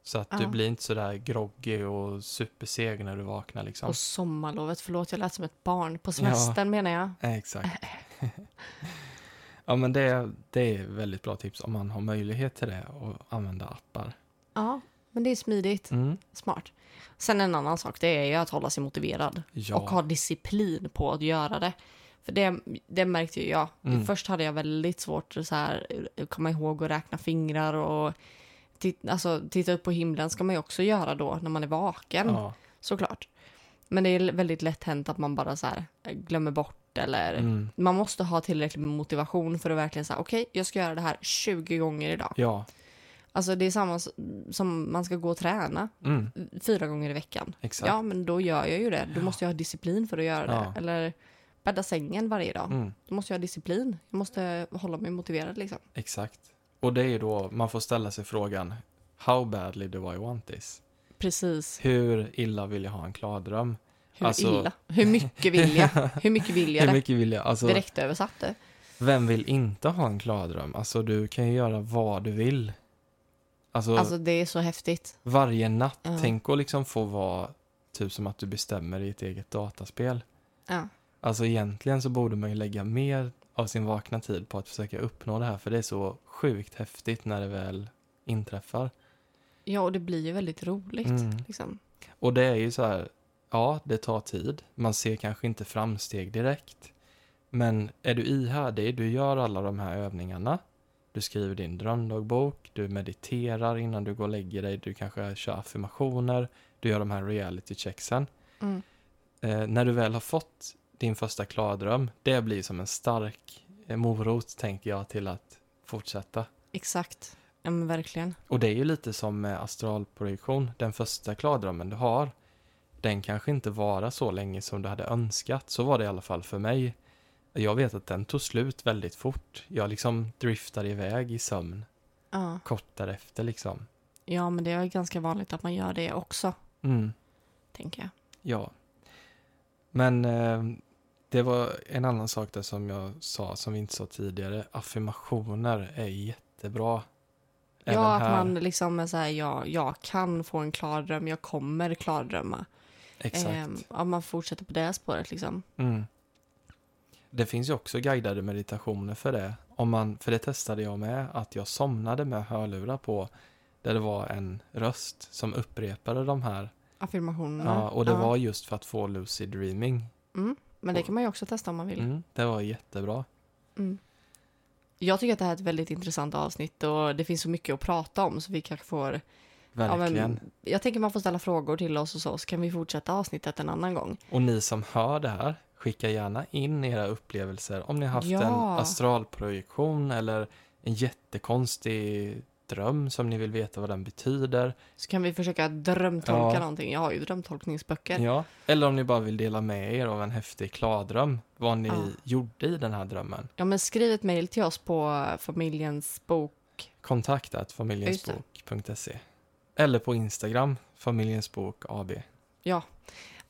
Så att du Ja. blir inte sådär groggy och superseg när du vaknar liksom. Och sommarlovet. Förlåt, jag lät som ett barn. På semestern menar jag. *laughs* Eh, Exakt. *laughs* ja, men det, det är väldigt bra tips om man har möjlighet till det och använda appar. Ja, men det är smidigt. Mm. Smart. Sen en annan sak, det är ju att hålla sig motiverad. Ja. Och ha disciplin på att göra det. För det, det märkte ju jag. Mm. Först hade jag väldigt svårt att så här, komma ihåg att räkna fingrar och tit- alltså, titta upp på himlen ska man ju också göra då när man är vaken. Ja. Såklart. Men det är väldigt lätt hänt att man bara så här, glömmer bort eller Mm. man måste ha tillräcklig med motivation för att verkligen säga okej, jag ska göra det här 20 gånger idag. ja. Alltså det är samma s- som man ska gå och träna Mm. fyra gånger i veckan. Exakt. Ja, men då gör jag ju det. Då måste jag ha disciplin för att göra det. Ja. Eller bädda sängen varje dag. Mm. Då måste jag ha disciplin. Jag måste hålla mig motiverad liksom. Exakt. Och det är ju då man får ställa sig frågan How badly do I want this? Precis. Hur illa vill jag ha en klardröm? Hur Alltså- illa? Hur mycket vill jag? Hur mycket *laughs* vill jag Hur det? mycket vill jag? Alltså, Direkt översatt det. vem vill inte ha en klardröm? Alltså, du kan ju göra vad du vill. Alltså, Alltså det är så häftigt. varje natt. Ja. Tänk att liksom få vara typ som att du bestämmer i ett eget dataspel. Ja. Alltså, egentligen så borde man ju lägga mer av sin vakna tid på att försöka uppnå det här, för det är så sjukt häftigt när det väl inträffar. Ja, och det blir ju väldigt roligt. Mm. Liksom. Och det är ju så här, ja, det tar tid. Man ser kanske inte framsteg direkt. Men är du ihärdig, du gör alla de här övningarna. Du skriver din drömdagbok, du mediterar innan du går och lägger dig, du kanske kör affirmationer, du gör de här reality checksen. Mm. Eh, när du väl har fått din första klardröm, det blir som en stark eh, morot, tänker jag, till att fortsätta. Exakt. Ja, men verkligen. Och det är ju lite som med astralprojektion. Den första klardrömmen du har, den kanske inte varar så länge som du hade önskat. Så var det i alla fall för mig. Jag vet att den tog slut väldigt fort. Jag liksom driftade iväg i sömn Ja. kort därefter liksom. ja, men det är ganska vanligt att man gör det också, Mm, tänker jag. ja. Men eh, det var en annan sak där som jag sa, som vi inte sa tidigare. Affirmationer är jättebra. Även ja, att här. man liksom är så här, ja, jag kan få en klardröm, jag kommer klardrömma. Ehm, Exakt. ja, man fortsätter på det spåret liksom. Mm. Det finns ju också guidade meditationer för det. Om man, för det testade jag med, att jag somnade med hörlurar på där det var en röst som upprepade de här. Affirmationerna. Ja, och det var just för att få lucid dreaming. Mm. Men det kan man ju också testa om man vill. Mm, det var jättebra. Mm. Jag tycker att det här är ett väldigt intressant avsnitt och det finns så mycket att prata om så vi kanske får... ja, men Verkligen. jag tänker man får ställa frågor till oss och så, så kan vi fortsätta avsnittet en annan gång. Och ni som hör det här, skicka gärna in era upplevelser. Om ni har haft Ja. en astralprojektion eller en jättekonstig dröm som ni vill veta vad den betyder. Så kan vi försöka drömtolka Ja. någonting. Jag har ju drömtolkningsböcker. Ja, eller om ni bara vill dela med er av en häftig klardröm, vad ni Ja. gjorde i den här drömmen. Ja, men skriv ett mejl till oss på familjens bok. Kontakta familjensbok.se eller på Instagram, familjensbok AB.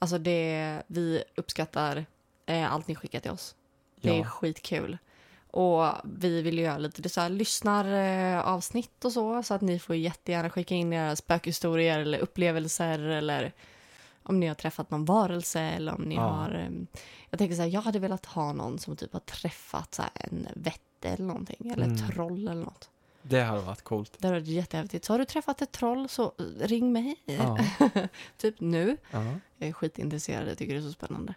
Alltså det, vi uppskattar eh, allt ni skickar till oss. Det är Ja, skitkul. Och vi vill ju göra lite så här, lyssnaravsnitt och så, så att ni får jättegärna skicka in era spökhistorier eller upplevelser eller om ni har träffat någon varelse eller om ni Ja. har... eh, Jag tänker så här, jag hade velat ha någon som typ har träffat så här, en vätte eller någonting, eller ett Mm. troll eller något. det har varit coolt. Det hade varit jättehäftigt. Så har du träffat ett troll så eh, ring mig, *laughs* Ja, typ nu. ja. Jag är skitintresserad, jag tycker det är så spännande.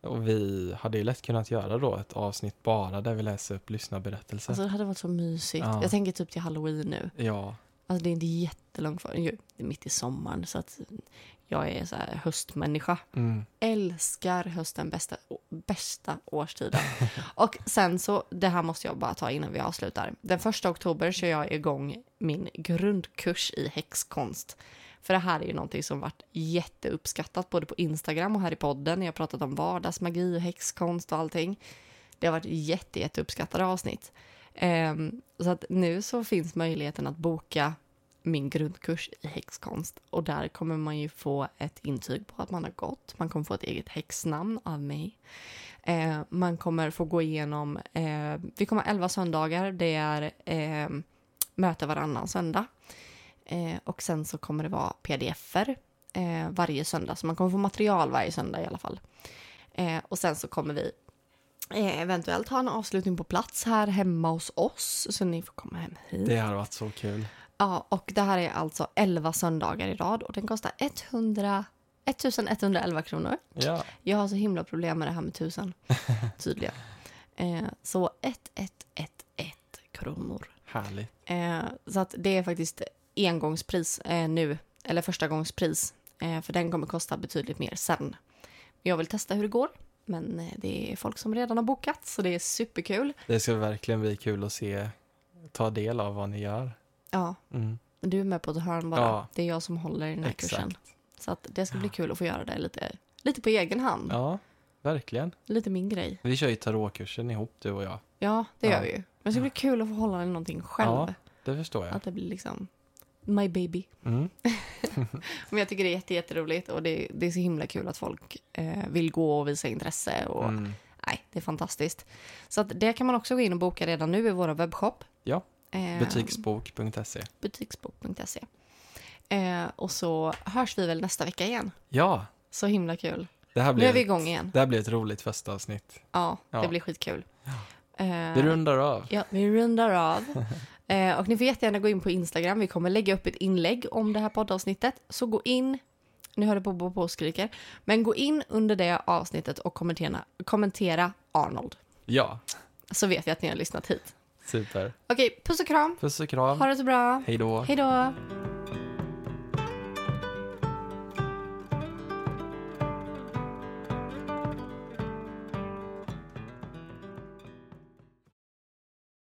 Och vi hade ju lätt kunnat göra då ett avsnitt bara där vi läser upp lyssnarberättelser. Alltså det hade varit så mysigt. Ja. Jag tänker typ till halloween nu. ja, Alltså det är inte jättelångt kvar. Ju, Det är mitt i sommaren så att jag är så här höstmänniska. mm, Älskar hösten, bästa, bästa årstiden. Och sen så, det här måste jag bara ta innan vi avslutar. Den första oktober kör jag igång min grundkurs i häxkonst. För det här är ju någonting som varit jätteuppskattat både på Instagram och här i podden. Jag har pratat om vardagsmagi och häxkonst och allting. Det har varit jätte, jätteuppskattade avsnitt. Ehm, så att nu så finns möjligheten att boka min grundkurs i häxkonst och där kommer man ju få ett intyg på att man har gått. Man kommer få ett eget häxnamn av mig. Eh, man kommer få gå igenom, eh, vi kommer ha 11 söndagar, det är eh, möte varannan söndag. Eh, och sen så kommer det vara pdf-er eh, varje söndag, så man kommer få material varje söndag i alla fall. Eh, och sen så kommer vi eh, eventuellt ha en avslutning på plats här hemma hos oss, så ni får komma hem hit. det har varit så kul. Ja, och det här är alltså 11 söndagar i rad och den kostar 100, 1111 kronor. Ja, Jag har så himla problem med det här med tusen, tydligen. Eh, så 1111 kronor. härligt. Eh, så att det är faktiskt engångspris eh, nu, eller första gångspris. Eh, för den kommer kosta betydligt mer sen. Jag vill testa hur det går, men eh, det är folk som redan har bokat så det är superkul. Det ska verkligen bli kul att se, ta del av vad ni gör. Ja, Mm, Du är med på ett hörn bara. Ja. Det är jag som håller i den här Exakt. kursen. Så att det ska bli kul att få göra det lite, lite på egen hand. ja, verkligen. Lite min grej. Vi kör ju tarotkursen ihop du och jag. Ja, det Ja. gör vi ju. Men det ska bli kul att få hålla i någonting själv. Ja. Det förstår jag. Att det blir liksom my baby. Mm. Men jag tycker det är jätte, jätteroligt och det, det är så himla kul att folk eh, vill gå och visa intresse. Och, Mm. Nej, det är fantastiskt. Så att det kan man också gå in och boka redan nu i vår webbshop. Ja. Eh, Butiksbok.se. Butiksbok.se. Eh, och så hörs vi väl nästa vecka igen. Ja, Så himla kul. det här Nu är blir, vi igång igen. det här blir ett roligt festavsnitt. Ja, det Ja. blir skitkul. Vi Eh, rundar av. ja, vi rundar av. *laughs* Eh, och ni får jättegärna gå in på Instagram. Vi kommer lägga upp ett inlägg om det här poddavsnittet. Så gå in, nu hör det på på, på och skriker, men gå in under det avsnittet och kommentera, kommentera Arnold. Ja, Så vet jag att ni har lyssnat hit. super. Okej, puss och kram. Puss och Ha kram. det så bra. Hej då. Hej då.